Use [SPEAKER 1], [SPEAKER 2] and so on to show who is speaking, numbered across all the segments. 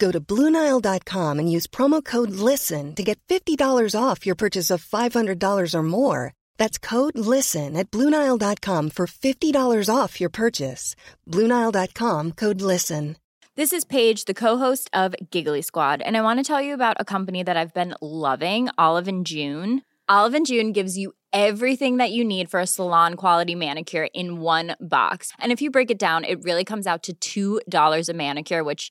[SPEAKER 1] Go to Bluenile.com and use promo code LISTEN to get $50 off your purchase of $500 or more. That's code LISTEN at Bluenile.com for $50 off your purchase. Bluenile.com code LISTEN.
[SPEAKER 2] This is Paige, the co-host of Giggly Squad, and I want to tell you about a company that I've been loving, Olive and June. Olive and June gives you everything that you need for a salon quality manicure in one box. And if you break it down, it really comes out to $2 a manicure, which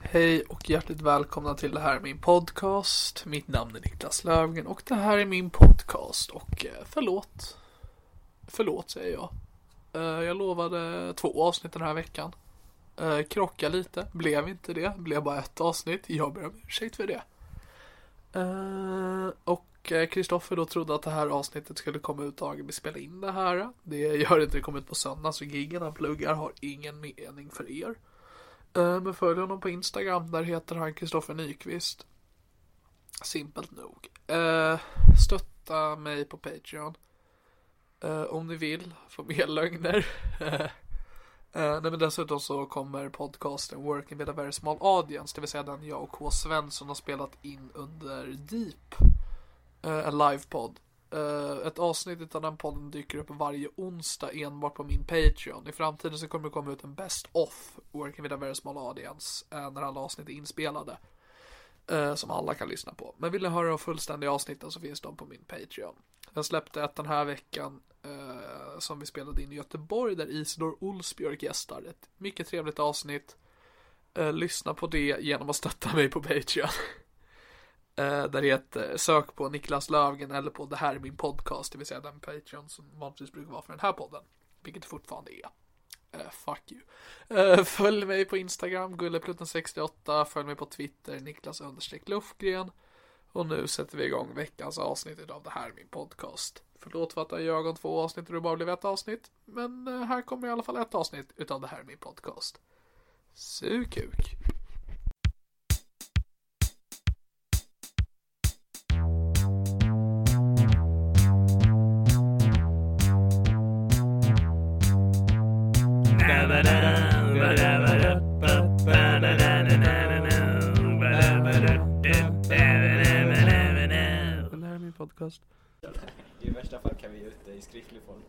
[SPEAKER 3] Hej och hjärtligt välkomna till det här är min podcast. Mitt namn är Niklas Löfgren och det här är min podcast och eh, förlåt. Förlåt säger jag. Eh, Jag lovade två avsnitt den här veckan. Eh, Krocka lite, blev inte det. Blev bara ett avsnitt. Jag ber om ursäkt för det. Eh, Och Kristoffer då trodde att det här avsnittet skulle komma ut dagen vi spelade in det här. Det gör det inte, det kommer ut på söndag så giggen han pluggar har ingen mening för er. Eh, Men följ honom på Instagram, där heter han Kristoffer Nyqvist. Simpelt nog. Eh, Stötta mig på Patreon. Eh, Om ni vill, få mer lögner. Eh, Nej, men dessutom så kommer podcasten Working with a very small audience, det vill säga den jag och K. Svensson har spelat in under Deep, eh, en livepodd. Eh, Ett avsnitt av den podden dyker upp varje onsdag enbart på min Patreon. I framtiden så kommer det komma ut en Best of Working with a very small audience eh, när alla avsnitt är inspelade. eh, Som alla kan lyssna på. Men vill ni höra de fullständiga avsnitten så finns de på min Patreon. Jag släppte ett den här veckan eh, som vi spelade in i Göteborg där Isidor Olsbjörk gästar. Ett mycket trevligt avsnitt. Eh, lyssna på det genom att stötta mig på Patreon. eh, där det heter sök på Niklas Löfgren eller på det här är min podcast, det vill säga den Patreon som vanligtvis brukar vara för den här podden. Vilket det fortfarande är. Eh, fuck you. Eh, följ mig på Instagram, gullepluten68. Följ mig på Twitter, Niklas understreck Lufgren. Och nu sätter vi igång veckans avsnitt av det här är min podcast. Förlåt för att jag gör om två avsnitt och det bara blev ett avsnitt. Men eh, här kommer i alla fall ett avsnitt utav det här är min podcast. Sukuk. Det här är min podcast.
[SPEAKER 4] I värsta fall kan vi ge ut det i skriftlig form.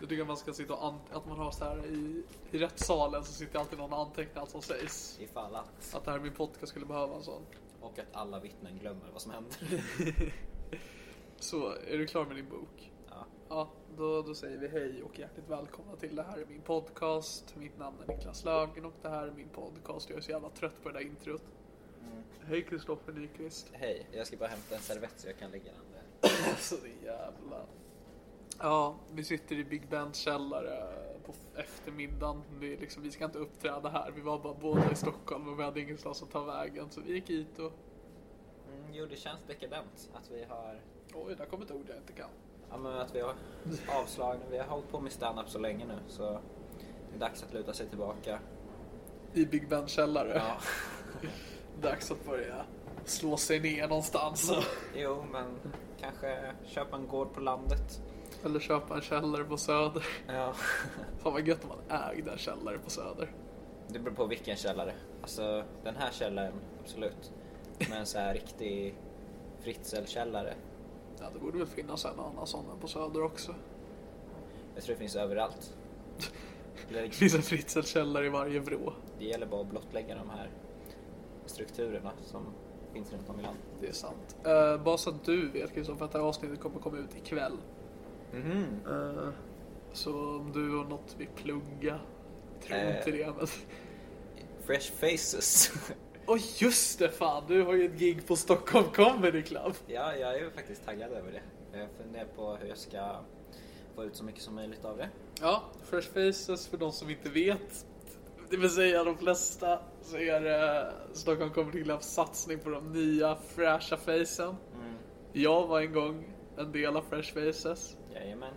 [SPEAKER 3] Jag tycker att man ska sitta och an- att man har så här i, i rätt salen så sitter alltid någon och antecknar allt som sägs.
[SPEAKER 4] Ifall att.
[SPEAKER 3] Att det här är min podcast skulle behöva en sån.
[SPEAKER 4] Och att alla vittnen glömmer vad som händer.
[SPEAKER 3] Så, är du klar med din bok?
[SPEAKER 4] Ja.
[SPEAKER 3] Ja, då, då säger vi hej och hjärtligt välkomna till det här är min podcast. Mitt namn är Niklas Löfgren och det här är min podcast. Jag är så jävla trött på det där introt. Hej Kristoffer Nyqvist.
[SPEAKER 4] Hej, jag ska bara hämta en servett så jag kan lägga den där.
[SPEAKER 3] Alltså det jävla... Ja, vi sitter i Big Bens källare på f- eftermiddagen. Det är liksom, vi ska inte uppträda här. Vi var bara båda i Stockholm och vi hade ingenstans att ta vägen. Så vi gick hit och...
[SPEAKER 4] Mm, jo, det känns dekadent att vi har
[SPEAKER 3] Oj, där kom ett ord jag inte kan.
[SPEAKER 4] Ja men att vi har avslagna, vi har hållit på med stand-up så länge nu så det är dags att luta sig tillbaka.
[SPEAKER 3] I Big Bens källare.
[SPEAKER 4] Ja.
[SPEAKER 3] Dags att börja slå sig ner någonstans.
[SPEAKER 4] Jo, men kanske köpa en gård på landet.
[SPEAKER 3] Eller köpa en källare på Söder.
[SPEAKER 4] Ja.
[SPEAKER 3] Fan vad gött om man ägde en källare på Söder.
[SPEAKER 4] Det beror på vilken källare. Alltså den här källaren, absolut. Men en så här riktig fritzelkällare.
[SPEAKER 3] Ja, det borde väl finnas en annan sån här på Söder också.
[SPEAKER 4] Jag tror det finns överallt.
[SPEAKER 3] Det finns en fritzelkällare i varje vrå.
[SPEAKER 4] Det gäller bara att blottlägga de här strukturerna som finns runt om i landet.
[SPEAKER 3] Det är sant. Eh, bara så att du vet Kristoffer, för att det här avsnittet kommer komma ut ikväll. Eh, så om du har något vi plugga, tror
[SPEAKER 4] Eh.
[SPEAKER 3] inte det. Men...
[SPEAKER 4] Fresh faces.
[SPEAKER 3] Åh just det fan, du har ju ett gig på Stockholm Comedy Club.
[SPEAKER 4] ja, jag är ju faktiskt taggad över det. Jag funderar på hur jag ska få ut så mycket som möjligt av det.
[SPEAKER 3] Ja, Fresh Faces för de som inte vet. Det vill säga de flesta så är det Stockholm Comedy Clubs satsning på de nya fräscha facen. Jag var en gång en del av Fresh Faces.
[SPEAKER 4] Jajamän.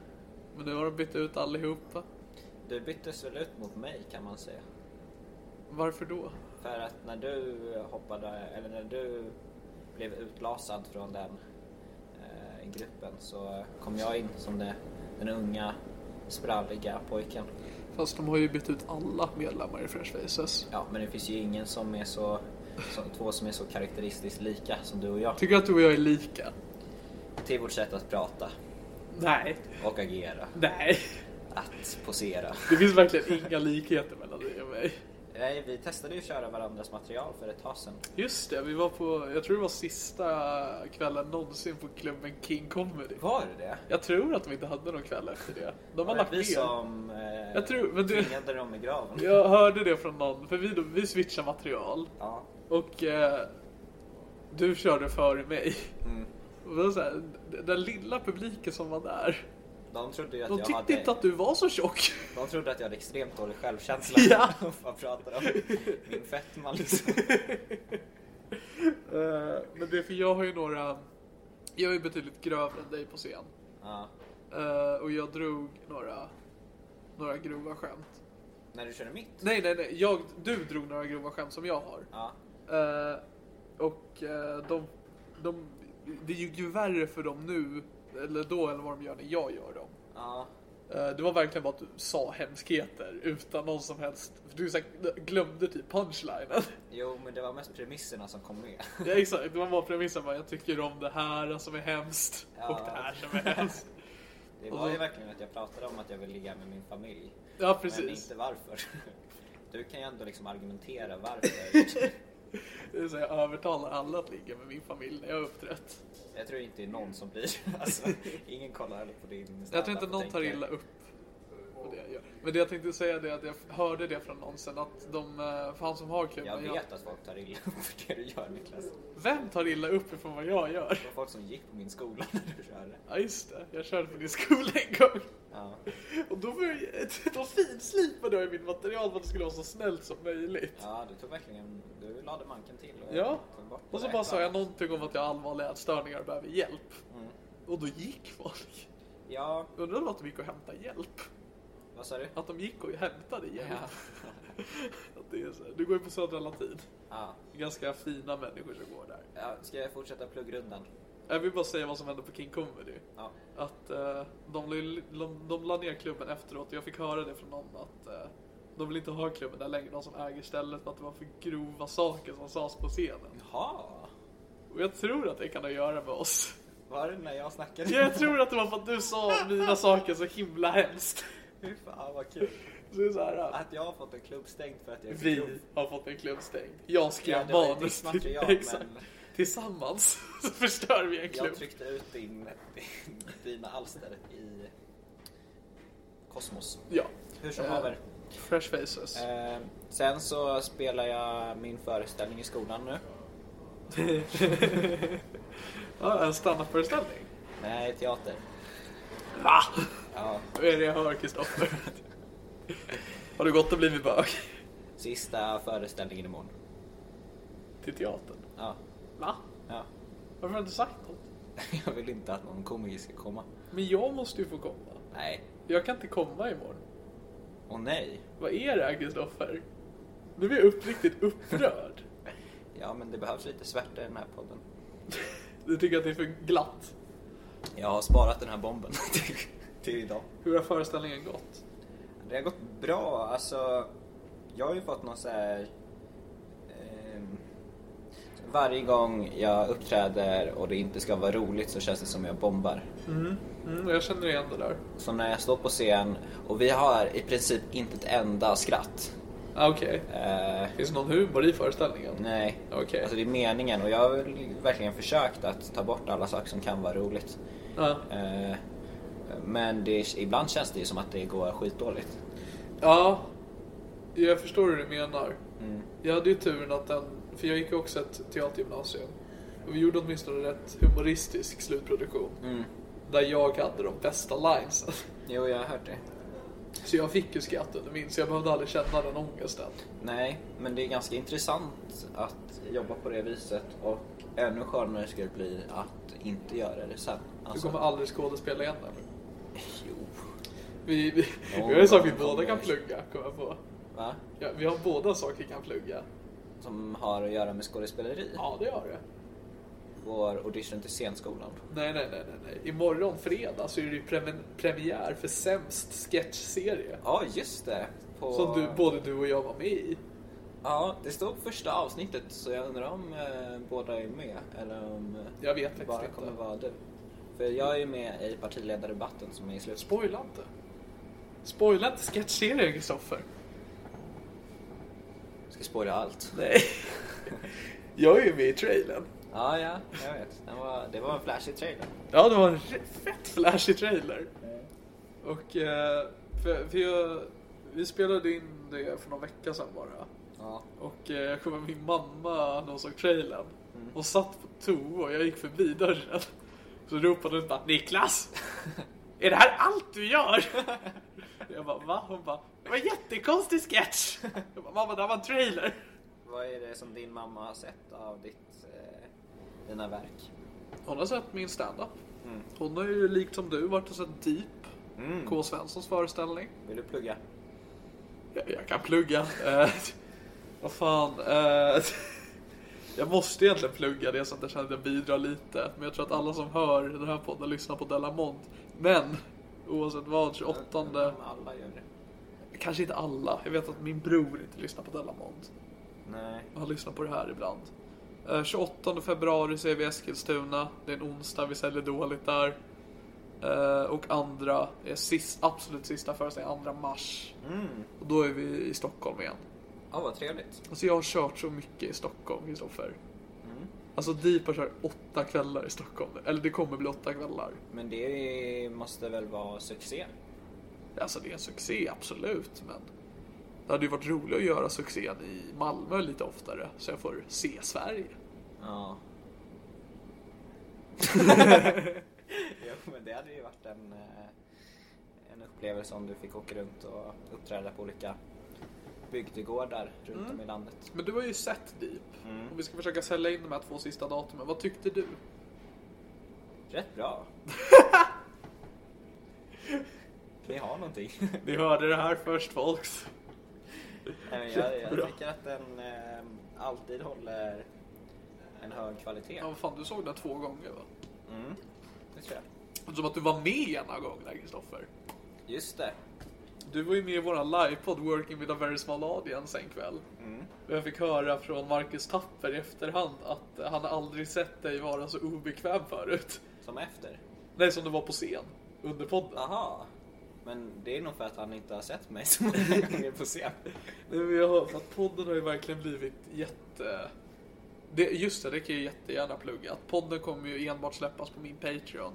[SPEAKER 3] Men nu har de bytt ut allihopa.
[SPEAKER 4] Du byttes väl ut mot mig kan man säga.
[SPEAKER 3] Varför då?
[SPEAKER 4] För att när du hoppade, eller när du blev utlasad från den eh, gruppen så kom jag in som det, den unga spralliga pojken.
[SPEAKER 3] Fast de har ju bytt ut alla medlemmar i Fresh Faces.
[SPEAKER 4] Ja, men det finns ju ingen som är så, som, två som är så karaktäristiskt lika som du och jag.
[SPEAKER 3] Tycker du att du och jag är lika?
[SPEAKER 4] Till vårt sätt att prata
[SPEAKER 3] Nej.
[SPEAKER 4] och agera,
[SPEAKER 3] Nej.
[SPEAKER 4] att posera.
[SPEAKER 3] Det finns verkligen inga likheter mellan dig och mig.
[SPEAKER 4] Nej, vi testade ju att köra varandras material för ett tag sedan.
[SPEAKER 3] Just det, vi var på, jag tror det var sista kvällen någonsin på klubben King Comedy.
[SPEAKER 4] Var det det?
[SPEAKER 3] Jag tror att de inte hade någon kväll efter det. De har
[SPEAKER 4] Var det
[SPEAKER 3] lagt
[SPEAKER 4] vi
[SPEAKER 3] ner.
[SPEAKER 4] som eh,
[SPEAKER 3] Jag tror- men du-
[SPEAKER 4] tvingade dem i graven?
[SPEAKER 3] Jag hörde det från någon, för vi, vi switchade material.
[SPEAKER 4] Ja.
[SPEAKER 3] Och eh, du körde före mig. Och det var så här, den lilla publiken som var där,
[SPEAKER 4] De trodde ju att
[SPEAKER 3] de
[SPEAKER 4] jag
[SPEAKER 3] tyckte
[SPEAKER 4] hade...
[SPEAKER 3] inte att du var så tjock.
[SPEAKER 4] De trodde att jag hade extremt dålig självkänsla.
[SPEAKER 3] Ja.
[SPEAKER 4] Vad pratar de om? Min fetma liksom.
[SPEAKER 3] Eh, men det är för jag har ju några, jag är betydligt grövre än dig på scen.
[SPEAKER 4] Ja.
[SPEAKER 3] Eh, och jag drog några, några grova skämt.
[SPEAKER 4] När du körde mitt?
[SPEAKER 3] Nej, nej, nej, jag, du drog några grova skämt som jag har.
[SPEAKER 4] Ja.
[SPEAKER 3] Eh, och eh, de, de, det gick ju värre för dem nu, eller då, eller vad de gör när jag gör dem.
[SPEAKER 4] Ja.
[SPEAKER 3] Eh, det var verkligen bara att du sa hemskheter utan någon som helst, för du sa- glömde typ punchlinen.
[SPEAKER 4] Jo, men det var mest premisserna som kom med.
[SPEAKER 3] ja, exakt, det var bara premissen bara, jag tycker om det här som är hemskt
[SPEAKER 4] Ja.
[SPEAKER 3] och det här som är hemskt.
[SPEAKER 4] Det
[SPEAKER 3] Och
[SPEAKER 4] var ju
[SPEAKER 3] så-
[SPEAKER 4] verkligen att jag pratade om att jag vill ligga med min familj.
[SPEAKER 3] Ja,
[SPEAKER 4] Men
[SPEAKER 3] precis.
[SPEAKER 4] inte varför. Du kan ju ändå liksom argumentera varför.
[SPEAKER 3] Det är så jag övertalar alla att ligga med min familj när jag har uppträtt.
[SPEAKER 4] Jag tror inte det är någon som blir... Alltså, ingen kollar heller på din standup
[SPEAKER 3] Jag tror inte
[SPEAKER 4] och
[SPEAKER 3] någon tar
[SPEAKER 4] tänker,
[SPEAKER 3] illa upp. på det jag gör. Men det jag tänkte säga det är att jag hörde det från någon sen att de, eh, för han som har klubben,
[SPEAKER 4] Jag
[SPEAKER 3] jag-
[SPEAKER 4] vet att folk tar illa upp för det du gör Niklas.
[SPEAKER 3] Vem tar illa upp ifrån vad jag gör?
[SPEAKER 4] Det var folk som gick på min skola när du körde.
[SPEAKER 3] Ja just det, jag körde på din skola en gång.
[SPEAKER 4] Ja.
[SPEAKER 3] Och då var jag, då finslipade jag i mitt material för att det skulle vara så snällt som möjligt.
[SPEAKER 4] Ja, du tog verkligen... Du lade manken till. Och
[SPEAKER 3] Ja.
[SPEAKER 4] tog bort
[SPEAKER 3] Och så
[SPEAKER 4] det.
[SPEAKER 3] bara sa jag någonting om att jag har allvarliga ätstörningar och behöver hjälp. Och då gick folk.
[SPEAKER 4] Ja,
[SPEAKER 3] Undrar om att de gick och hämtade hjälp?
[SPEAKER 4] vad sa du?
[SPEAKER 3] Att de gick och hämtade hjälp.
[SPEAKER 4] Ja.
[SPEAKER 3] Att det är så här. Du går ju på Södra Latin.
[SPEAKER 4] Ja.
[SPEAKER 3] Ganska fina människor som går där.
[SPEAKER 4] ja. Ska jag fortsätta pluggrundan?
[SPEAKER 3] Jag vill bara säga vad som hände på King Comedy.
[SPEAKER 4] Ja.
[SPEAKER 3] Att eh, de, la- de, de la ner klubben efteråt och jag fick höra det från någon att eh, de vill inte ha klubben där längre, de som äger stället, för att det var för grova saker som sades på scenen.
[SPEAKER 4] Jaha!
[SPEAKER 3] Och jag tror att det kan ha att göra med oss.
[SPEAKER 4] Var det när jag snackade?
[SPEAKER 3] Ja, Jag tror att det var för att du sa mina saker så himla hemskt.
[SPEAKER 4] Fy fan vad kul.
[SPEAKER 3] Så det är så här, eh,
[SPEAKER 4] Att jag har fått en klubb stängd för att jag är för grov.
[SPEAKER 3] vi har fått en klubb stängd. Jag
[SPEAKER 4] Ja,
[SPEAKER 3] skrev
[SPEAKER 4] det var ju
[SPEAKER 3] manus.
[SPEAKER 4] ditt
[SPEAKER 3] till-
[SPEAKER 4] material,
[SPEAKER 3] exakt.
[SPEAKER 4] men
[SPEAKER 3] Tillsammans så förstör vi en klubb.
[SPEAKER 4] jag tryckte ut din, din, dina alster i kosmos.
[SPEAKER 3] Ja.
[SPEAKER 4] Hur som
[SPEAKER 3] Eh,
[SPEAKER 4] haver.
[SPEAKER 3] Fresh faces.
[SPEAKER 4] Eh, sen så spelar jag min föreställning i skolan nu.
[SPEAKER 3] Ja, en standupföreställning.
[SPEAKER 4] Nej, teater.
[SPEAKER 3] Va?
[SPEAKER 4] Ja,
[SPEAKER 3] Vad är det jag hör Kristoffer? Har du gått och blivit bög?
[SPEAKER 4] sista föreställningen imorgon.
[SPEAKER 3] Till teatern?
[SPEAKER 4] Ja,
[SPEAKER 3] Va?
[SPEAKER 4] ja.
[SPEAKER 3] Varför har du inte sagt något?
[SPEAKER 4] Jag vill inte att någon komiker ska komma.
[SPEAKER 3] Men jag måste ju få komma.
[SPEAKER 4] Nej.
[SPEAKER 3] Jag kan inte komma imorgon.
[SPEAKER 4] Och nej.
[SPEAKER 3] Vad är det här Kristoffer? Nu är jag uppriktigt upprörd.
[SPEAKER 4] ja men det behövs lite svärta i den här podden.
[SPEAKER 3] Du tycker att det är för glatt.
[SPEAKER 4] Jag har sparat den här bomben till, till idag.
[SPEAKER 3] Hur har föreställningen gått?
[SPEAKER 4] Det har gått bra. Alltså, jag har ju fått någon så här... ehm, varje gång jag uppträder och det inte ska vara roligt så känns det som jag bombar.
[SPEAKER 3] Mm, jag känner igen det där.
[SPEAKER 4] Så när jag står på scen och vi har i princip inte ett enda skratt.
[SPEAKER 3] Ah, Okej.
[SPEAKER 4] Eh,
[SPEAKER 3] Finns det någon humor i föreställningen?
[SPEAKER 4] nej.
[SPEAKER 3] Okej.
[SPEAKER 4] Alltså det är meningen och jag har väl verkligen försökt att ta bort alla saker som kan vara roligt.
[SPEAKER 3] Ja.
[SPEAKER 4] Eh, men det, ibland känns det ju som att det går skitdåligt.
[SPEAKER 3] Ja, jag förstår hur du menar.
[SPEAKER 4] Mm.
[SPEAKER 3] Jag hade ju turen att den, för jag gick ju också ett teatergymnasium. Och vi gjorde åtminstone rätt humoristisk slutproduktion.
[SPEAKER 4] Mm.
[SPEAKER 3] Där jag hade de bästa linesen.
[SPEAKER 4] Jo, jag har hört det.
[SPEAKER 3] Så jag fick ju skratt under min, så jag behövde aldrig känna den ångesten.
[SPEAKER 4] Nej, men det är ganska intressant att jobba på det viset och ännu skönare skulle det bli att inte göra det sen.
[SPEAKER 3] Du
[SPEAKER 4] Alltså,
[SPEAKER 3] kommer aldrig skådespela igen eller?
[SPEAKER 4] Jo.
[SPEAKER 3] Vi, vi,
[SPEAKER 4] Ja,
[SPEAKER 3] vi har en sak vi
[SPEAKER 4] men-
[SPEAKER 3] båda kan plugga, kommer jag på.
[SPEAKER 4] Va?
[SPEAKER 3] Ja, vi har båda saker vi kan plugga.
[SPEAKER 4] Som har att göra med skådespeleri.
[SPEAKER 3] Ja, det har det.
[SPEAKER 4] Vår audition till scenskolan.
[SPEAKER 3] Nej, nej, nej, nej, nej. Imorgon fredag så är det ju premi- premiär för sämst sketchserie.
[SPEAKER 4] Ja, just det. På...
[SPEAKER 3] Som du, både du och jag var med i.
[SPEAKER 4] Ja, det står på första avsnittet så jag undrar om eh, båda är med eller om eh,
[SPEAKER 3] Jag vet
[SPEAKER 4] det
[SPEAKER 3] faktiskt
[SPEAKER 4] bara
[SPEAKER 3] inte.
[SPEAKER 4] kommer vara du. För jag är ju med i partiledardebatten som är i slutet.
[SPEAKER 3] Spoila inte. Spoila inte sketchserien, Kristoffer.
[SPEAKER 4] Ska jag spoila allt?
[SPEAKER 3] Nej. jag är ju med i trailern.
[SPEAKER 4] Ja, ja, jag vet. Den var, det var en flashig trailer.
[SPEAKER 3] Ja, det var en re- fett flashig trailer. Och eh, för, för jag, vi spelade in det för någon vecka sedan bara.
[SPEAKER 4] Ja.
[SPEAKER 3] Och eh, jag kommer ihåg min mamma när hon såg trailern. Hon satt på toa och jag gick förbi dörren. Så ropade hon bara Niklas! Är det här allt du gör? Jag bara va? Hon bara det var en jättekonstig sketch. Jag bara mamma det här var en trailer.
[SPEAKER 4] Vad är det som din mamma har sett av ditt, eh, dina verk?
[SPEAKER 3] Hon har sett min standup. Mm. Hon har ju likt som du varit och sett Deep. K. Svenssons föreställning.
[SPEAKER 4] Vill du plugga?
[SPEAKER 3] Jag, jag kan plugga. Eh, vad fan. Eh, jag måste egentligen plugga det så att jag känner att jag bidrar lite. Men jag tror att alla som hör den här podden lyssnar på Delamont. Men oavsett vad, 28...
[SPEAKER 4] Mm, Alla gör det.
[SPEAKER 3] Kanske inte alla. Jag vet att min bror inte lyssnar på Delamont.
[SPEAKER 4] Nej.
[SPEAKER 3] Han lyssnar på det här ibland. Eh, 28 februari så är vi i Eskilstuna. Det är en onsdag, vi säljer dåligt där. Eh, och andra, är sist, absolut sista föreställningen, 2 mars. Och då är vi i Stockholm igen.
[SPEAKER 4] Ja, vad trevligt.
[SPEAKER 3] Alltså jag har kört så mycket i Stockholm, Kristoffer. Alltså Deep har kört åtta kvällar i Stockholm. Eller det kommer bli åtta kvällar.
[SPEAKER 4] Men det måste väl vara succé?
[SPEAKER 3] Alltså det är en succé, absolut. Men det hade ju varit roligt att göra succén i Malmö lite oftare. Så jag får se Sverige.
[SPEAKER 4] Ja. jo, men det hade ju varit en, eh, en upplevelse om du fick åka runt och uppträda på olika bygdegårdar runt om i landet.
[SPEAKER 3] Men du har ju sett Deep. Och vi ska försöka sälja in de här två sista datumen. Vad tyckte du?
[SPEAKER 4] Rätt bra. Vi har någonting.
[SPEAKER 3] Ni hörde det här först folks.
[SPEAKER 4] Nej, men jag, jag
[SPEAKER 3] Bra.
[SPEAKER 4] tycker att den eh, alltid håller en hög kvalitet.
[SPEAKER 3] Ja, vad fan, du såg den två gånger va?
[SPEAKER 4] Det tror jag.
[SPEAKER 3] Som att du var med ena gången där, Kristoffer.
[SPEAKER 4] Just det.
[SPEAKER 3] Du var ju med i våran livepodd Working with a very small audience en kväll. Och jag fick höra från Marcus Tapper i efterhand att eh, han aldrig sett dig vara så obekväm förut.
[SPEAKER 4] Som efter.
[SPEAKER 3] Nej, som du var på scen under podden.
[SPEAKER 4] Aha. Men det är nog för att han inte har sett mig så många gånger på scen.
[SPEAKER 3] Nej, men jag har, för att podden har ju verkligen blivit jätte... Det, just det, det kan jag jättegärna plugga. Att podden kommer ju enbart släppas på min Patreon.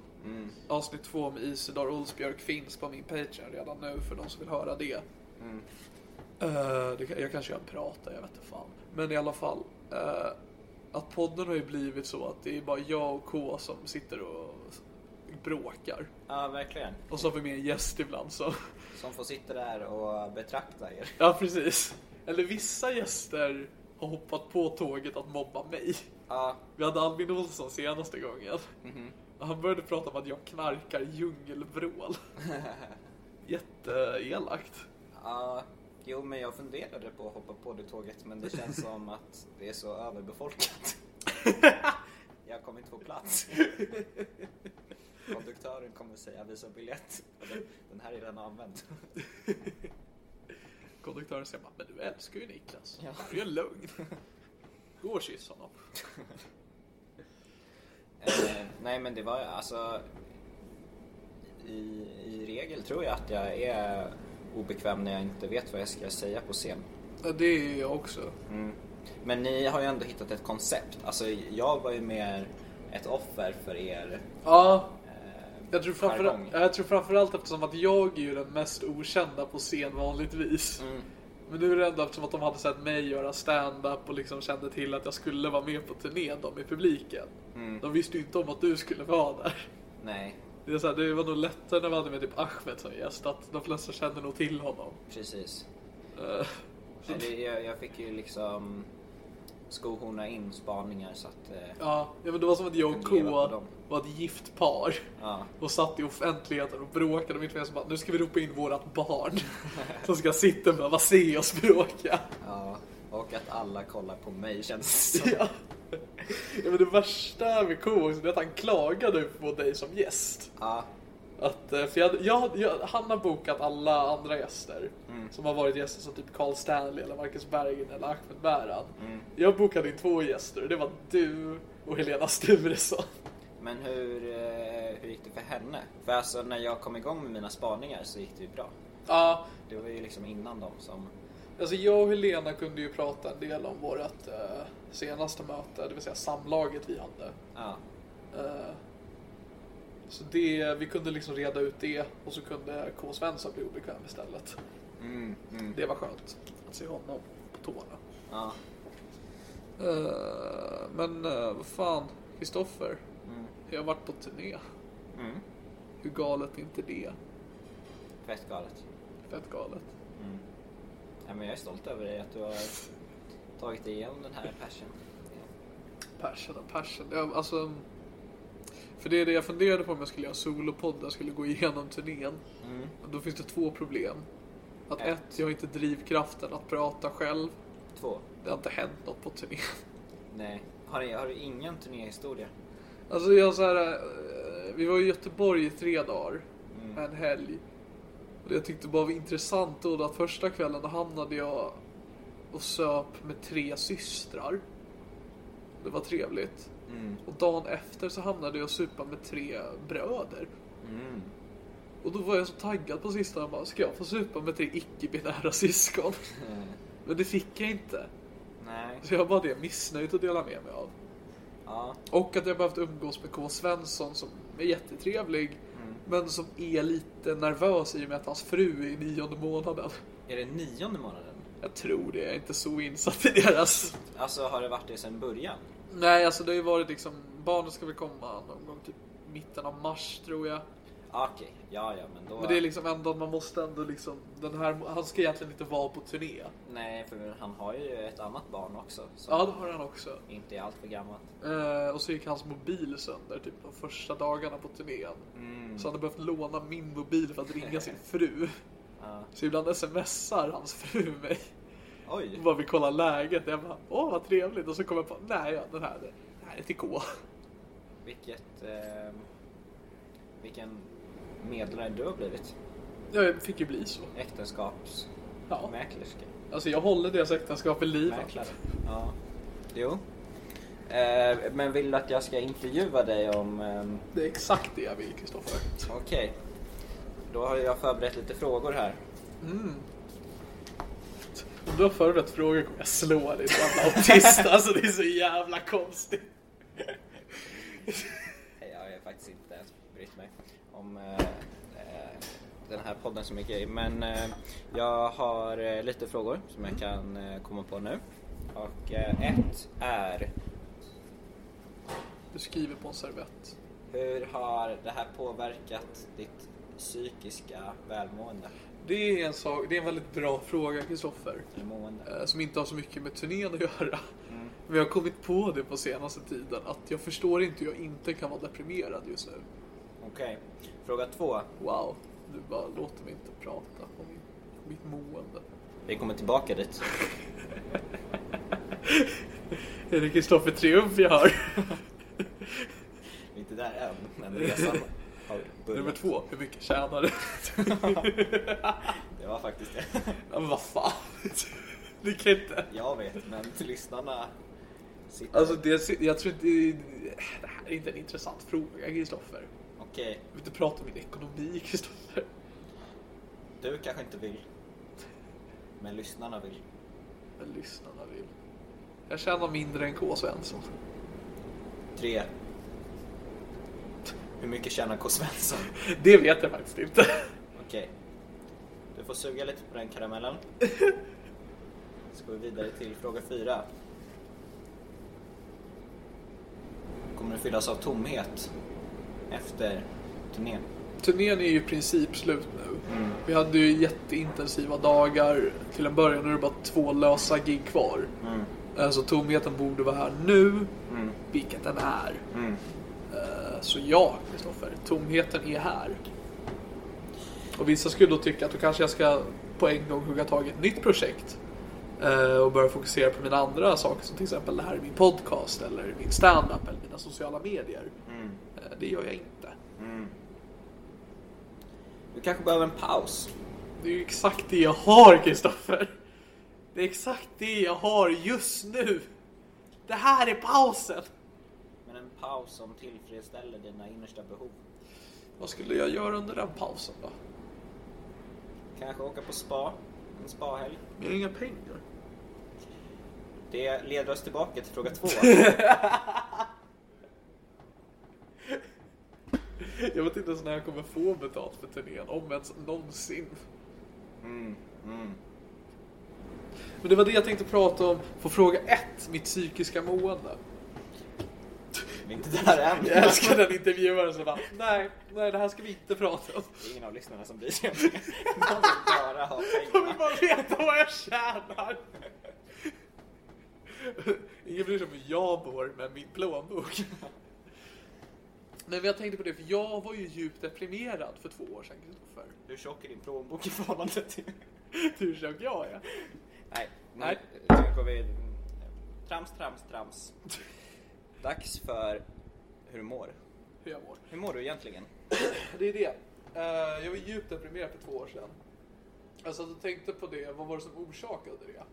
[SPEAKER 3] Avsnitt två med Isidor Olsbjörk finns på min Patreon redan nu för de som vill höra det. Eh, det kan- jag kanske kan prata, jag vet inte fan. Men i alla fall. eh, att podden har ju blivit så att det är bara jag och K som sitter och bråkar.
[SPEAKER 4] Ja, verkligen.
[SPEAKER 3] Och så har vi med en gäst ibland så.
[SPEAKER 4] Som får sitta där och betrakta er.
[SPEAKER 3] Ja, precis. Eller vissa gäster har hoppat på tåget att mobba mig.
[SPEAKER 4] Ja,
[SPEAKER 3] Vi hade Albin Olsson senaste gången. Och Han började prata om att jag knarkar djungelvrål. Jätteelakt.
[SPEAKER 4] ja. Jo, men jag funderade på att hoppa på det tåget men det känns som att det är så överbefolkat. jag kommer inte få plats. Konduktören kommer säga visa biljett. Den här är redan använd.
[SPEAKER 3] Konduktören säger bara, men du älskar ju Niklas.
[SPEAKER 4] Ja.
[SPEAKER 3] Du är lugn. Gå och kyss honom.
[SPEAKER 4] Eh, nej men det var alltså i, I regel tror jag att jag är obekväm när jag inte vet vad jag ska säga på scen.
[SPEAKER 3] Ja, det är jag också.
[SPEAKER 4] Men ni har ju ändå hittat ett koncept. Alltså jag var ju mer ett offer för er.
[SPEAKER 3] Ja, jag tror,
[SPEAKER 4] jargong.
[SPEAKER 3] framförallt, jag tror framförallt eftersom att jag är ju den mest okända på scen vanligtvis. Men nu är det ändå eftersom att de hade sett mig göra stand-up och liksom kände till att jag skulle vara med på turné de i publiken. De visste ju inte om att du skulle vara där.
[SPEAKER 4] Nej,
[SPEAKER 3] Det, är så här, det var nog lättare när vi hade med typ Ahmed som gäst att de flesta kände nog till honom.
[SPEAKER 4] precis.
[SPEAKER 3] Eh,
[SPEAKER 4] Nej, det- Jag, jag fick ju liksom skohorna in spaningar så att... Eh,
[SPEAKER 3] Ja, ja, men det var som att jag och K
[SPEAKER 4] Leva på dem.
[SPEAKER 3] var ett gift par
[SPEAKER 4] Ja.
[SPEAKER 3] och satt i offentligheten och bråkade mitt emellan. så bara, Nu ska vi ropa in vårat barn som ska sitta och behöva se oss bråka.
[SPEAKER 4] ja. Och att alla kollar på mig känns det som.
[SPEAKER 3] Ja. ja, men det värsta med K också det är att han klagade på dig som gäst.
[SPEAKER 4] Ja,
[SPEAKER 3] Att, eh, för jag, hade- jag, jag, han har bokat alla andra gäster
[SPEAKER 4] Mm.
[SPEAKER 3] som har varit gäster som typ Carl Stanley eller Marcus Berggren eller Ahmed Bärad.
[SPEAKER 4] Mm.
[SPEAKER 3] Jag bokade in två gäster och det var du och Helena Sturesson.
[SPEAKER 4] men hur, eh, hur gick det för henne? För alltså när jag kom igång med mina spaningar så gick det ju bra.
[SPEAKER 3] Ja,
[SPEAKER 4] Det var ju liksom innan dem som...
[SPEAKER 3] Alltså jag och Helena kunde ju prata en del om vårt eh, senaste möte, det vill säga samlaget vi hade.
[SPEAKER 4] Ja,
[SPEAKER 3] Eh, så det, vi kunde liksom reda ut det och så kunde K. Svensson bli obekväm istället. Det var skönt att se honom på tårna.
[SPEAKER 4] ja.
[SPEAKER 3] Eh, men eh, vad fan, Kristoffer. Jag har varit på turné.
[SPEAKER 4] Mm.
[SPEAKER 3] Hur galet är inte det?
[SPEAKER 4] Fett galet.
[SPEAKER 3] Fett galet.
[SPEAKER 4] Ja, men jag är stolt över dig att du har tagit dig igenom den här passion.
[SPEAKER 3] Passion och passion. Jag, alltså, för det är det jag funderade på om jag skulle göra en solopodd där jag skulle gå igenom turnén. Men Då finns det två problem. Att
[SPEAKER 4] Ett.
[SPEAKER 3] ett, jag har inte drivkraften att prata själv.
[SPEAKER 4] Två.
[SPEAKER 3] Det har inte hänt något på turnén.
[SPEAKER 4] Nej. Har, ni, har du ingen turnéhistoria?
[SPEAKER 3] Alltså jag så här, eh, vi var i Göteborg i tre dagar. En helg. Och det jag tyckte bara var intressant då att första kvällen då hamnade jag och söp med tre systrar. Det var trevligt. Och dagen efter så hamnade jag och supa med tre bröder. Och då var jag så taggad på sista jag bara, ska jag få supa med tre icke-binära syskon? Men det fick jag inte.
[SPEAKER 4] Nej.
[SPEAKER 3] Så jag har bara det missnöjet att dela med mig av.
[SPEAKER 4] Ja.
[SPEAKER 3] Och att jag behövt umgås med K. Svensson som är jättetrevlig. Men som är lite nervös i och med att hans fru är i nionde månaden.
[SPEAKER 4] Är det nionde månaden?
[SPEAKER 3] Jag tror det, jag är inte så insatt i deras...
[SPEAKER 4] Alltså har det varit det sedan början?
[SPEAKER 3] Nej, alltså det har ju varit liksom... Barnen ska väl komma någon gång typ mitten av mars tror jag.
[SPEAKER 4] Ah, Okej, ja ja men då...
[SPEAKER 3] Men det är liksom ändå att man måste ändå liksom... Den här, han ska egentligen inte vara på turné.
[SPEAKER 4] Nej, för han har ju ett annat barn också som
[SPEAKER 3] Ja, det har han också.
[SPEAKER 4] inte är alltför gammalt.
[SPEAKER 3] Eh, och så gick hans mobil sönder typ de första dagarna på turnén. Så han hade behövt låna min mobil för att ringa sin fru. Så ibland smsar hans fru mig.
[SPEAKER 4] Oj!
[SPEAKER 3] Och bara vill kolla läget. Jag bara, åh vad trevligt. Och så kommer jag på, nej ja, den här, den här är till K.
[SPEAKER 4] Vilket... Eh, vilken medlare du har blivit.
[SPEAKER 3] Jag fick ju bli så.
[SPEAKER 4] Äktenskapsmäklerska.
[SPEAKER 3] Ja. Alltså jag håller deras äktenskap i livet.
[SPEAKER 4] Mäklare. Ja. Jo. Eh, men vill du att jag ska intervjua dig om... ehm,
[SPEAKER 3] Det är exakt det jag vill Kristoffer.
[SPEAKER 4] Okej. Då har jag förberett lite frågor här.
[SPEAKER 3] Om du har förberett frågor kommer jag slå dig som jävla autist. Alltså det är så jävla konstigt.
[SPEAKER 4] Nej, Jag har faktiskt inte ens brytt mig om eh, eh, den här podden så mycket. Men eh, jag har eh, lite frågor som jag kan eh, komma på nu. Och eh, ett är,
[SPEAKER 3] Du skriver på en servett.
[SPEAKER 4] hur har det här påverkat ditt psykiska välmående?
[SPEAKER 3] Det är en, sak, det är en väldigt bra fråga Kristoffer.
[SPEAKER 4] Eller mående?
[SPEAKER 3] eh, som inte har så mycket med turnén att göra. Men jag har kommit på det på senaste tiden att jag förstår inte hur jag inte kan vara deprimerad just nu.
[SPEAKER 4] Okej. Fråga två.
[SPEAKER 3] Wow, du bara låter mig inte prata om mitt, om mitt mående.
[SPEAKER 4] Vi kommer tillbaka dit.
[SPEAKER 3] Är det Kristoffer Triumf jag hör?
[SPEAKER 4] Vi är inte där än, men resan har börjat.
[SPEAKER 3] Nummer två, hur mycket tjänar du?
[SPEAKER 4] Det var faktiskt det.
[SPEAKER 3] Ja, men vad fan? Det kan inte...
[SPEAKER 4] Jag vet, men till lyssnarna sitter...
[SPEAKER 3] Alltså, det, jag tror inte... Det här är inte en intressant fråga, Kristoffer.
[SPEAKER 4] Okej,
[SPEAKER 3] Vi vill inte prata om min ekonomi, Kristoffer.
[SPEAKER 4] du kanske inte vill. Men lyssnarna vill.
[SPEAKER 3] Men lyssnarna vill. Jag tjänar mindre än K. Svensson.
[SPEAKER 4] Tre. Hur mycket tjänar K. Svensson?
[SPEAKER 3] Det vet jag faktiskt inte.
[SPEAKER 4] Okej. Du får suga lite på den karamellen. Så går vi vidare till fråga fyra. Kommer du fyllas av tomhet efter turnén?
[SPEAKER 3] Turnén är ju i princip slut nu.
[SPEAKER 4] Mm.
[SPEAKER 3] Vi hade ju jätteintensiva dagar. Till en början är det bara två lösa gig kvar.
[SPEAKER 4] Mm.
[SPEAKER 3] Eh, Så tomheten borde vara här nu, vilket den är.
[SPEAKER 4] Mm.
[SPEAKER 3] Eh, Så ja, Kristoffer, tomheten är här. Och vissa skulle då tycka att då kanske jag ska på en gång hugga tag i ett nytt projekt. eh, Och börja fokusera på mina andra saker som till exempel det här är min podcast eller min standup eller mina sociala medier.
[SPEAKER 4] Mm.
[SPEAKER 3] Eh, Det gör jag inte.
[SPEAKER 4] Du kanske behöver en paus.
[SPEAKER 3] Det är ju exakt det jag har, Kristoffer. Det är exakt det jag har just nu. Det här är pausen.
[SPEAKER 4] Men en paus som tillfredsställer dina innersta behov.
[SPEAKER 3] Vad skulle jag göra under den pausen då?
[SPEAKER 4] Kanske åka på spa. En spahelg.
[SPEAKER 3] Jag har inga pengar.
[SPEAKER 4] Det leder oss tillbaka till fråga två.
[SPEAKER 3] Jag vet inte ens när jag kommer få betalt för turnén, om ens någonsin. Mm, Men det var det jag tänkte prata om på fråga ett, mitt psykiska mående.
[SPEAKER 4] Vi är inte där än.
[SPEAKER 3] Jag älskar den intervjuaren som bara, nej, nej det här ska vi inte prata om.
[SPEAKER 4] Det är ingen av lyssnarna som bryr sig om det. De vill bara ha
[SPEAKER 3] Jag vill
[SPEAKER 4] pengar.
[SPEAKER 3] bara veta vad jag tjänar. Ingen bryr sig om hur jag mår med min plånbok. Nej, men jag tänkte på det, för jag var ju djupt deprimerad för två år sedan, Kristoffer.
[SPEAKER 4] Hur tjock är din plånbok i förhållande till...
[SPEAKER 3] Tur tjock jag är.
[SPEAKER 4] Nej, nu
[SPEAKER 3] Nej.
[SPEAKER 4] nu går vi... Trams, trams, trams. Dags för hur du mår.
[SPEAKER 3] Hur jag mår.
[SPEAKER 4] Hur mår du egentligen?
[SPEAKER 3] Det är det. Eh, jag var djupt deprimerad för två år sedan. Alltså, Jag satt och tänkte på det, vad var det som orsakade det?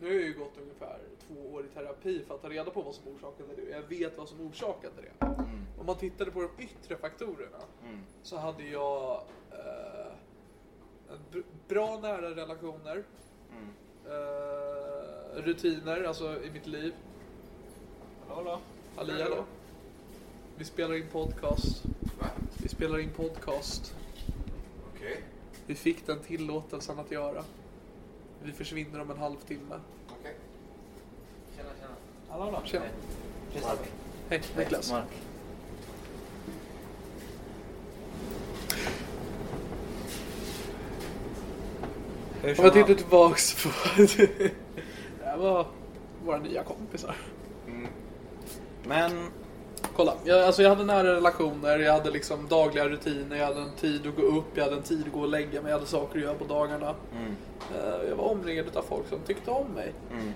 [SPEAKER 3] Nu har jag ju gått ungefär två år i terapi för att ta reda på vad som orsakade det och jag vet vad som orsakade det. Om man tittade på de yttre faktorerna så hade jag eh, en br- bra nära relationer, eh, rutiner alltså i mitt liv.
[SPEAKER 4] Hallå, hallå.
[SPEAKER 3] Ali, hallå. Vi spelar in podcast. Vi spelar in podcast.
[SPEAKER 5] Okej.
[SPEAKER 3] Vi fick den tillåtelsen att göra. Vi försvinner om en halvtimme.
[SPEAKER 5] Okej.
[SPEAKER 4] Hallå, hallå.
[SPEAKER 3] Tjena.
[SPEAKER 4] Mark.
[SPEAKER 3] Hej, Niklas.
[SPEAKER 4] Mark. Hur
[SPEAKER 3] Om
[SPEAKER 4] som
[SPEAKER 3] jag tittar
[SPEAKER 4] helst.
[SPEAKER 3] tillbaks på... det här var våra nya kompisar.
[SPEAKER 4] Men
[SPEAKER 3] Kolla, jag, alltså jag hade nära relationer, jag hade liksom dagliga rutiner, jag hade en tid att gå upp, jag hade en tid att gå och lägga mig, jag hade saker att göra på dagarna. Eh, Jag var omringad av folk som tyckte om mig. Mm.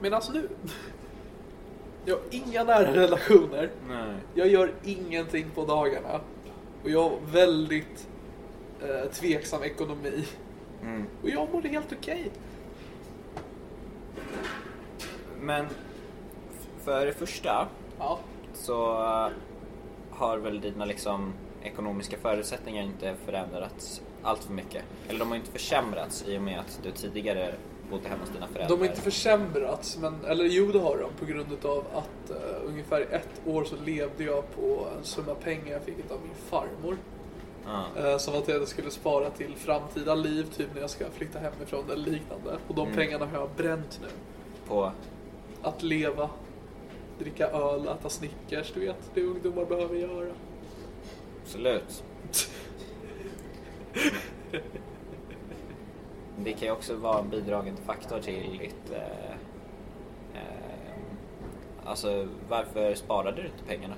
[SPEAKER 3] Medan nu, jag har inga nära relationer.
[SPEAKER 4] Nej.
[SPEAKER 3] Jag gör ingenting på dagarna. Och jag har väldigt eh, tveksam ekonomi. Och jag mår helt okej.
[SPEAKER 4] Men för det första
[SPEAKER 3] Ja,
[SPEAKER 4] så eh, har väl dina liksom ekonomiska förutsättningar inte förändrats allt för mycket. Eller de har inte försämrats i och med att du tidigare bodde hemma hos dina föräldrar.
[SPEAKER 3] de har inte försämrats, men, eller jo det har de på grund av att eh, ungefär i ett år så levde jag på en summa pengar jag fick av min farmor.
[SPEAKER 4] Ja.
[SPEAKER 3] Eh, som var till att jag skulle spara till framtida liv, typ när jag ska flytta hemifrån eller liknande. Och de pengarna har jag bränt nu.
[SPEAKER 4] På...
[SPEAKER 3] Att leva, dricka öl, äta Snickers, du vet, det ungdomar behöver göra.
[SPEAKER 4] Absolut. Det kan ju också vara en bidragande faktor till ditt... Eh, eh, alltså, varför sparade du inte pengarna?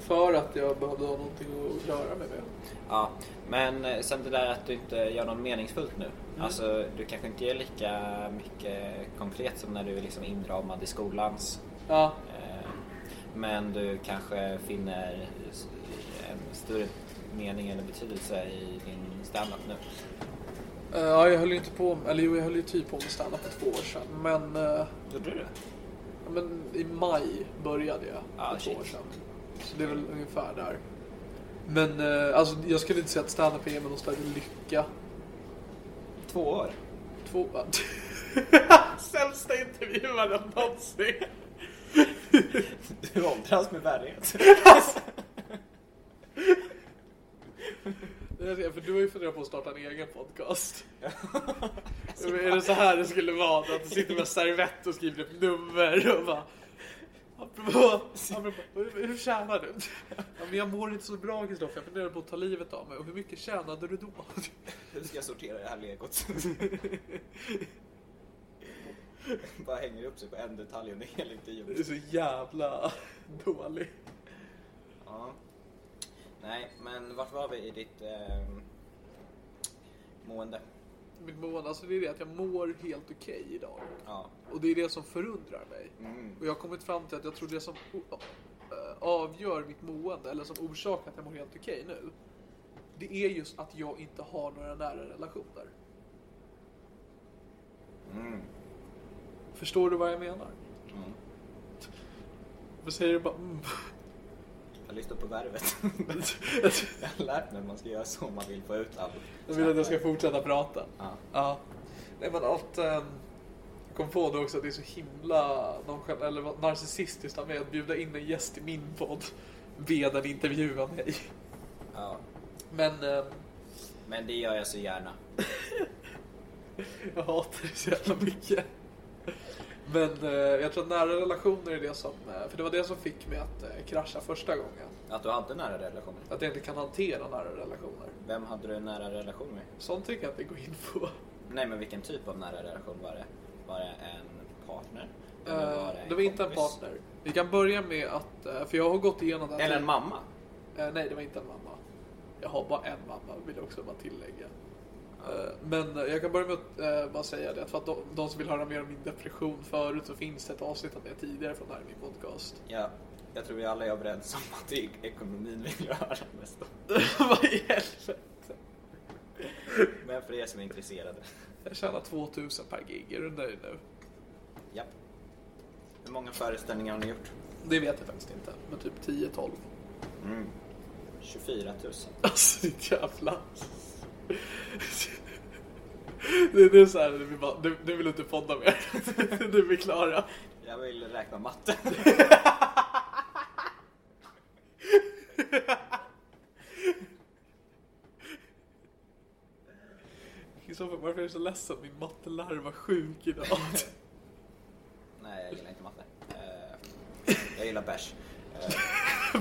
[SPEAKER 3] För att jag behövde ha någonting att röra mig med.
[SPEAKER 4] Ja, men eh, sen det där att du inte gör något meningsfullt nu. Alltså, du kanske inte gör lika mycket konkret som när du är liksom inramad i skolans.
[SPEAKER 3] Ja.
[SPEAKER 4] Eh, Men du kanske finner s- en större mening eller betydelse i din standup nu.
[SPEAKER 3] Eh, ja, jag höll ju inte på, eller jo, jag höll ju typ på med standup för två år sedan. Men, eh,
[SPEAKER 4] Gjorde du det?
[SPEAKER 3] ja, men i maj började jag
[SPEAKER 4] Ah,
[SPEAKER 3] för två
[SPEAKER 4] shit.
[SPEAKER 3] år sedan. Så det är väl ungefär där. Men eh, alltså, jag skulle inte säga att standup ger mig någon större lycka.
[SPEAKER 4] Två år?
[SPEAKER 3] Två... Sämsta intervjuaren någonsin.
[SPEAKER 4] Du åldras med värdighet.
[SPEAKER 3] Det är det, För du har ju funderat på att starta en egen podcast. är det så här det skulle vara? Att du sitter med servett och skriver ett nummer och bara... Apropå, apropå, hur hur tjänar du? Ja, men jag mår inte så bra Kristoffer, jag funderar på att ta livet av mig. Och hur mycket tjänade du då?
[SPEAKER 4] Hur ska jag sortera det här legot? Bara hänger upp sig på en detalj under hela
[SPEAKER 3] Det är
[SPEAKER 4] intervjun.
[SPEAKER 3] så jävla dålig.
[SPEAKER 4] Ja. Nej, men vart var vi i ditt ehm, mående?
[SPEAKER 3] Mitt mående, alltså det är det att jag mår helt okej idag.
[SPEAKER 4] Ja.
[SPEAKER 3] Och det är det som förundrar mig.
[SPEAKER 4] Mm.
[SPEAKER 3] Och jag har kommit fram till att jag tror det som o- eh, avgör mitt mående, eller som orsakar att jag mår helt okej nu, det är just att jag inte har några nära relationer.
[SPEAKER 4] Mm.
[SPEAKER 3] Förstår du vad jag menar?
[SPEAKER 4] Mm.
[SPEAKER 3] Vad säger du bara mm.
[SPEAKER 4] Jag lyssnar på värvet. jag har lärt mig att man ska göra så om man vill få ut allt.
[SPEAKER 3] Jag vill att jag ska fortsätta prata.
[SPEAKER 4] Ja.
[SPEAKER 3] Ja. Nej men att... ehm, jag kom på det också att det är så himla nonchalant, eller vad- narcissistiskt av mig att bjuda in en gäst i min podd. Be den intervjua mig.
[SPEAKER 4] Ja.
[SPEAKER 3] Men ehm,
[SPEAKER 4] Men det gör jag så gärna.
[SPEAKER 3] jag hatar det så jävla mycket. Men eh, jag tror att nära relationer är det som... eh, för det var det som fick mig att eh, krascha första gången.
[SPEAKER 4] Att du hade nära relationer.
[SPEAKER 3] Att jag inte kan hantera nära relationer.
[SPEAKER 4] Vem hade du nära relation med?
[SPEAKER 3] Sånt tycker jag inte gå in på.
[SPEAKER 4] Nej, men vilken typ av nära relation var det? Var det en partner? Eller
[SPEAKER 3] Eh,
[SPEAKER 4] en
[SPEAKER 3] det var inte en
[SPEAKER 4] kompis?
[SPEAKER 3] partner. Vi kan börja med att, eh, för jag har gått igenom det här
[SPEAKER 4] Eller en mamma?
[SPEAKER 3] Eh, nej, det var inte en mamma. Jag har bara en mamma, vill jag också bara tillägga. Eh, Men eh, jag kan börja med att eh, bara säga det, att för att de, de som vill höra mer om min depression förut så finns det ett avsnitt av det tidigare från det här i min podcast.
[SPEAKER 4] Ja, jag tror vi alla är överens om att det är ekonomin vi vill höra mest om.
[SPEAKER 3] Vad i helvete?
[SPEAKER 4] Men för er som är intresserade.
[SPEAKER 3] Jag tjänar 2000 per gig, är du nöjd nu?
[SPEAKER 4] Japp. Hur många föreställningar har ni gjort?
[SPEAKER 3] Det vet jag faktiskt inte, men typ 10-12.
[SPEAKER 4] 24 000.
[SPEAKER 3] Alltså ditt jävla... Det, det är såhär, nu bara, nu- nu vill du inte podda mer. Nu är vi klara.
[SPEAKER 4] Jag vill räkna matte.
[SPEAKER 3] Kristoffer, varför är du så ledsen? Min mattelärare var sjuk idag.
[SPEAKER 4] Nej, jag gillar inte matte. Eh, Jag gillar bärs.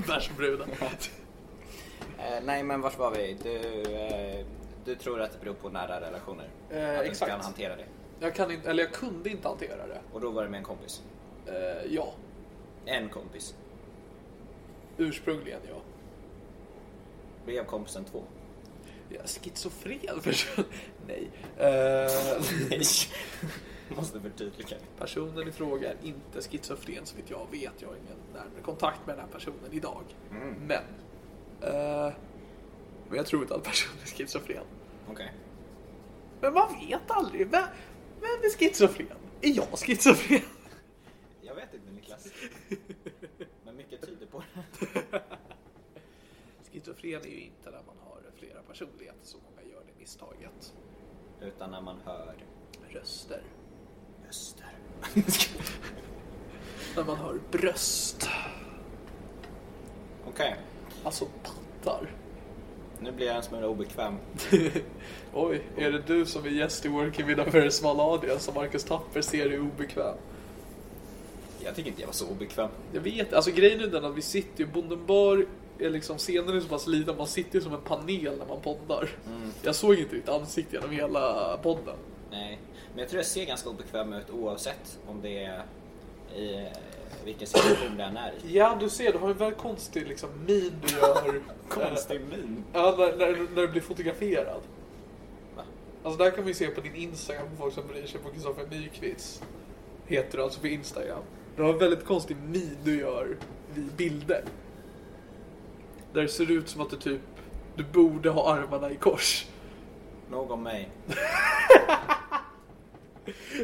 [SPEAKER 3] Bärsbruden.
[SPEAKER 4] Eh, Nej, men vart var vi? Du, eh, du tror att det beror på nära relationer?
[SPEAKER 3] Eh,
[SPEAKER 4] att du inte
[SPEAKER 3] exakt.
[SPEAKER 4] kan hantera det?
[SPEAKER 3] Jag kan inte, eller jag kunde inte hantera det.
[SPEAKER 4] Och då var det med en kompis?
[SPEAKER 3] Eh, ja,
[SPEAKER 4] En kompis.
[SPEAKER 3] ursprungligen ja.
[SPEAKER 4] Blev kompisen två?
[SPEAKER 3] Jag är schizofren person. Nej. Eh,
[SPEAKER 4] Nej. Måste förtydliga.
[SPEAKER 3] personen i fråga är inte schizofren så vitt jag vet. Jag har ingen närmare kontakt med den här personen idag. Men. eh, men jag tror inte att personen är schizofren.
[SPEAKER 4] Okej.
[SPEAKER 3] Men man vet aldrig. Vem, vem är schizofren? Är jag schizofren?
[SPEAKER 4] Jag vet inte Niklas. Men mycket tyder på det.
[SPEAKER 3] Schizofren är ju inte när man har flera personligheter som många gör det misstaget.
[SPEAKER 4] Utan när man hör
[SPEAKER 3] Röster.
[SPEAKER 4] röster.
[SPEAKER 3] När man hör bröst.
[SPEAKER 4] Okej,
[SPEAKER 3] Alltså pattar.
[SPEAKER 4] nu blir jag en smula obekväm.
[SPEAKER 3] Oj, är det du som är gäst i Working with a very small audience som Marcus Tapper ser är obekväm?
[SPEAKER 4] Jag tycker inte jag var så obekväm.
[SPEAKER 3] Jag vet alltså grejen är den att vi sitter ju, Bonden Bar är liksom, scenen är så pass liten, man sitter ju som en panel när man poddar. Jag såg inte ditt ansikte genom hela podden.
[SPEAKER 4] Nej, men jag tror jag ser ganska obekväm ut oavsett om det är i eh, vilken situation den är i.
[SPEAKER 3] Ja, du ser, du har en väldigt konstig liksom min du gör. eh,
[SPEAKER 4] min.
[SPEAKER 3] Ja, när, när, när du blir fotograferad.
[SPEAKER 4] Va?
[SPEAKER 3] Alltså där kan vi se på din Instagram på folk som bryr sig på Kristoffer Nyqvist. Heter du alltså på Instagram. Du har en väldigt konstig min du gör vid bilder. Där det ser ut som att du typ, du borde ha armarna i kors.
[SPEAKER 4] Nog om mig.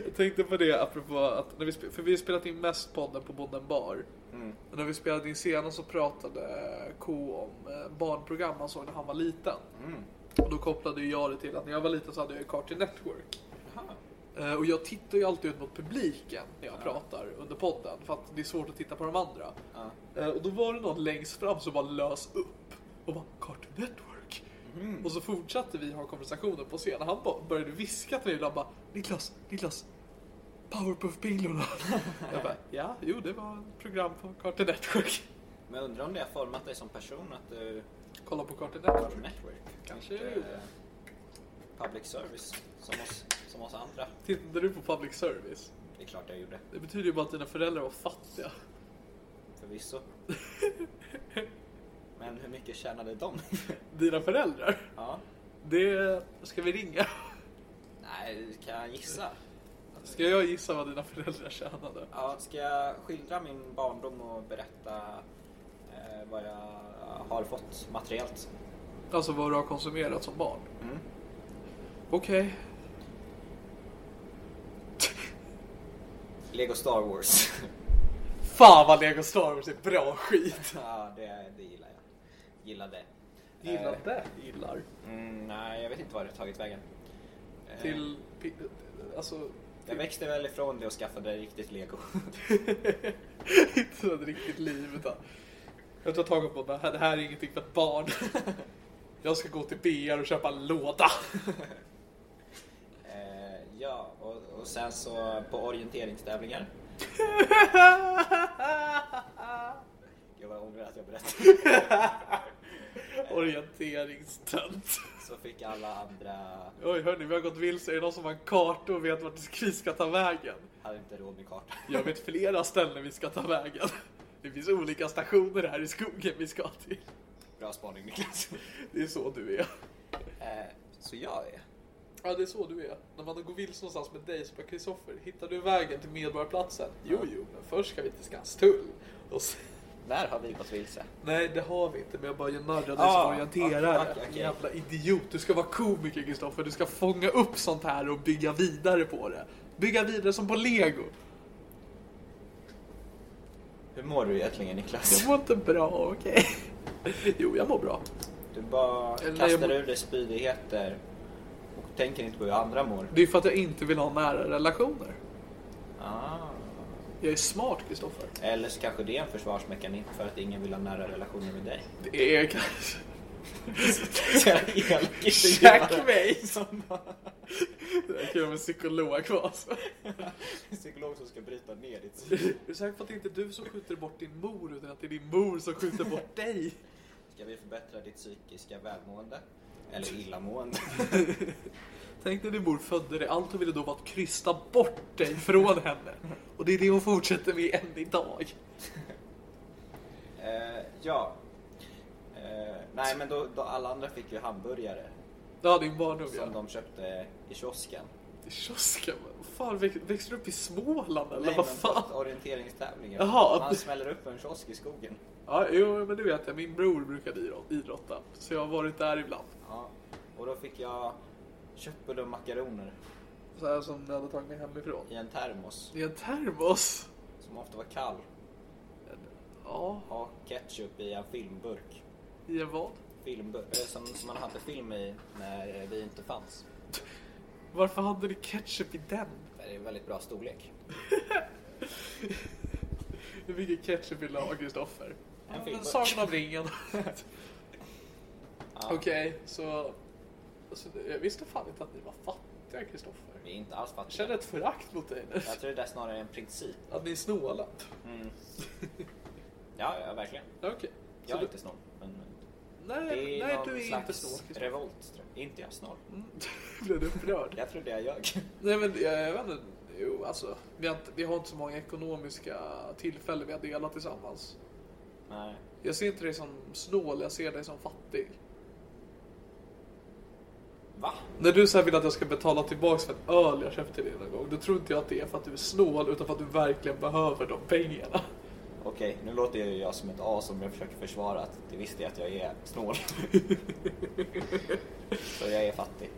[SPEAKER 3] Jag tänkte på det apropå att, när vi, spe- för vi har spelat in mest podden på Bonden Bar.
[SPEAKER 4] Mm.
[SPEAKER 3] Och när vi spelade in senast så pratade Ko om eh, barnprogram han såg när han var liten.
[SPEAKER 4] Mm.
[SPEAKER 3] Och då kopplade ju jag det till att när jag var liten så hade jag ju Cartoon Network.
[SPEAKER 4] Jaha.
[SPEAKER 3] Eh, Och jag tittar ju alltid ut mot publiken när jag pratar under podden för att det är svårt att titta på de andra.
[SPEAKER 4] Ja.
[SPEAKER 3] Eh, Och då var det någon längst fram som bara lös upp och bara Cartoon Network.
[SPEAKER 4] Mm.
[SPEAKER 3] Och så fortsatte vi ha konversationen på scenen. Han bara började viska till mig och bara Niklas, Niklas, Powerpuff-bilorna. jag bara, ja, jo det var ett program på Cartoon Network.
[SPEAKER 4] Men jag undrar om det har format dig som person att du...
[SPEAKER 3] Kolla på Cartoon
[SPEAKER 4] har
[SPEAKER 3] Network.
[SPEAKER 4] ett Network.
[SPEAKER 3] Kanske
[SPEAKER 4] Inte,
[SPEAKER 3] jag gjorde.
[SPEAKER 4] eh, Public service. Som oss, som oss andra.
[SPEAKER 3] Tittade du på public service?
[SPEAKER 4] Det är klart jag gjorde.
[SPEAKER 3] Det betyder ju bara att dina föräldrar var fattiga.
[SPEAKER 4] Förvisso. Men hur mycket tjänade de?
[SPEAKER 3] Dina föräldrar?
[SPEAKER 4] ja.
[SPEAKER 3] Det ska vi ringa.
[SPEAKER 4] Nej, kan jag gissa?
[SPEAKER 3] Ska jag gissa vad dina föräldrar tjänade?
[SPEAKER 4] Ja, ska jag skildra min barndom och berätta eh, vad jag har fått materiellt?
[SPEAKER 3] Alltså vad du har konsumerat som barn?
[SPEAKER 4] Mm.
[SPEAKER 3] Okej.
[SPEAKER 4] Lego Star Wars.
[SPEAKER 3] Fan vad Lego Star Wars är bra skit!
[SPEAKER 4] ja, det, det gillar jag. Gillade.
[SPEAKER 3] Gillar det? Eh, Gillar.
[SPEAKER 4] Mm, nej, jag vet inte vad det har tagit vägen. Eh,
[SPEAKER 3] Till... pi- Alltså...
[SPEAKER 4] Jag växte väl ifrån det och skaffade riktigt lego.
[SPEAKER 3] inte ett riktigt liv utan... Jag tar tag på det här, det här är ingenting för ett barn. Jag ska gå till BR och köpa en låda.
[SPEAKER 4] Eh, ja, och, och sen så på orienteringstävlingar. Jag var ångrar att jag berättade.
[SPEAKER 3] Orienteringstönt.
[SPEAKER 4] Så fick alla andra,
[SPEAKER 3] Oj hörni, vi har gått vilse. Är det någon som har en karta och vet vart vi ska ta vägen?
[SPEAKER 4] hade inte råd med karta.
[SPEAKER 3] Jag vet flera ställen vi ska ta vägen. Det finns olika stationer här i skogen vi ska till.
[SPEAKER 4] Bra spaning Niklas.
[SPEAKER 3] Det är så du är.
[SPEAKER 4] Eh, så jag är.
[SPEAKER 3] Ja, det är så du är. När man går vilse någonstans med dig så bara Kristoffer, hittar du vägen till Medborgarplatsen? Jo, jo, men först ska vi till Skanstull. Och sen...
[SPEAKER 4] Där har vi gått vilse.
[SPEAKER 3] Nej, det har vi inte, men jag bara nördar dig
[SPEAKER 4] Ah,
[SPEAKER 3] som orienterare.
[SPEAKER 4] okej, okej, okej.
[SPEAKER 3] Jävla idiot. Du ska vara komiker, Kristoffer. Du ska fånga upp sånt här och bygga vidare på det. Bygga vidare som på lego.
[SPEAKER 4] Hur mår du egentligen Niklas?
[SPEAKER 3] Jag mår inte bra, okej? Jo, jag mår bra.
[SPEAKER 4] Du bara
[SPEAKER 3] Eller jag
[SPEAKER 4] kastar
[SPEAKER 3] mår-
[SPEAKER 4] ur dig spydigheter och tänker inte på hur andra mår.
[SPEAKER 3] Det är för att jag inte vill ha nära relationer.
[SPEAKER 4] Ah.
[SPEAKER 3] Jag är smart, Kristoffer.
[SPEAKER 4] Eller så kanske det är en försvarsmekanism för att ingen vill ha nära relationer med dig.
[SPEAKER 3] Det är kanske...
[SPEAKER 4] Så jävla elakt intervjuare.
[SPEAKER 3] Checkmate! Det är kul om en psykolog var alltså.
[SPEAKER 4] Psykolog som ska bryta ner ditt
[SPEAKER 3] Är du säker på att det inte är du som skjuter bort din mor utan att det är din mor som skjuter bort dig?
[SPEAKER 4] Ska vi förbättra ditt psykiska välmående? Eller illamående?
[SPEAKER 3] Tänk när din mor födde dig, allt hon ville då var att krysta bort dig från henne. Och det är det hon fortsätter med än idag.
[SPEAKER 4] eh, ja. Eh, nej, men då, då alla andra fick ju hamburgare
[SPEAKER 3] Ja, din barndom
[SPEAKER 4] som
[SPEAKER 3] ja.
[SPEAKER 4] de köpte i kiosken.
[SPEAKER 3] I kiosken? Vad Fan, väx- växte du upp i Småland eller
[SPEAKER 4] Nej,
[SPEAKER 3] vad
[SPEAKER 4] men
[SPEAKER 3] fan?
[SPEAKER 4] på Orienteringstävlingar.
[SPEAKER 3] Jaha.
[SPEAKER 4] Man smäller upp en kiosk i skogen.
[SPEAKER 3] Ja, jo, men du vet jag, min bror brukade idrott- idrotta. Så jag har varit där ibland.
[SPEAKER 4] Ja. Och då fick jag köttbullar och makaroner
[SPEAKER 3] Så här som ni hade tagit mig hemifrån.
[SPEAKER 4] i en termos
[SPEAKER 3] I en termos?
[SPEAKER 4] som ofta var kall.
[SPEAKER 3] Ja,
[SPEAKER 4] Och ketchup i en filmburk.
[SPEAKER 3] i en vad?
[SPEAKER 4] Filmburk eh, som, som man hade film i när vi inte fanns.
[SPEAKER 3] Varför hade ni ketchup i den?
[SPEAKER 4] Det är en väldigt bra storlek.
[SPEAKER 3] Hur mycket ketchup vill du ha, Kristoffer?
[SPEAKER 4] En
[SPEAKER 3] Ja,
[SPEAKER 4] filmburk.
[SPEAKER 3] men Sagan om ringen.
[SPEAKER 4] Ja.
[SPEAKER 3] Okej, så... Alltså, jag visste fan inte att ni var fattiga, Kristoffer.
[SPEAKER 4] Vi är inte alls
[SPEAKER 3] Jag
[SPEAKER 4] fattiga.
[SPEAKER 3] känner ett förakt mot dig nu.
[SPEAKER 4] Jag tror det där snarare är en princip.
[SPEAKER 3] Att ni är snåla.
[SPEAKER 4] Ja, ja verkligen.
[SPEAKER 3] Okej. Så
[SPEAKER 4] Jag är
[SPEAKER 3] du-
[SPEAKER 4] inte snål. Men
[SPEAKER 3] Nej, nej
[SPEAKER 4] någon
[SPEAKER 3] du är
[SPEAKER 4] slags
[SPEAKER 3] inte snål, Kristoffer. Mm.
[SPEAKER 4] revolt. tror jag. Inte jag snål.
[SPEAKER 3] Blev du upprörd?
[SPEAKER 4] Jag trodde jag ljög.
[SPEAKER 3] Nej, men jag, jag vet inte. Jo, alltså. Vi har, inte, vi har inte så många ekonomiska tillfällen vi har delat tillsammans.
[SPEAKER 4] Nej.
[SPEAKER 3] Jag ser inte dig som snål, jag ser dig som fattig.
[SPEAKER 4] Va?
[SPEAKER 3] När du så här vill att jag ska betala tillbaks för ett öl jag köpte till dig någon gång, då tror inte jag att det är för att du är snål utan för att du verkligen behöver de pengarna.
[SPEAKER 4] Okej, nu låter ju jag som ett as om jag försöker försvara att det visste jag att jag är snål. Så jag är fattig.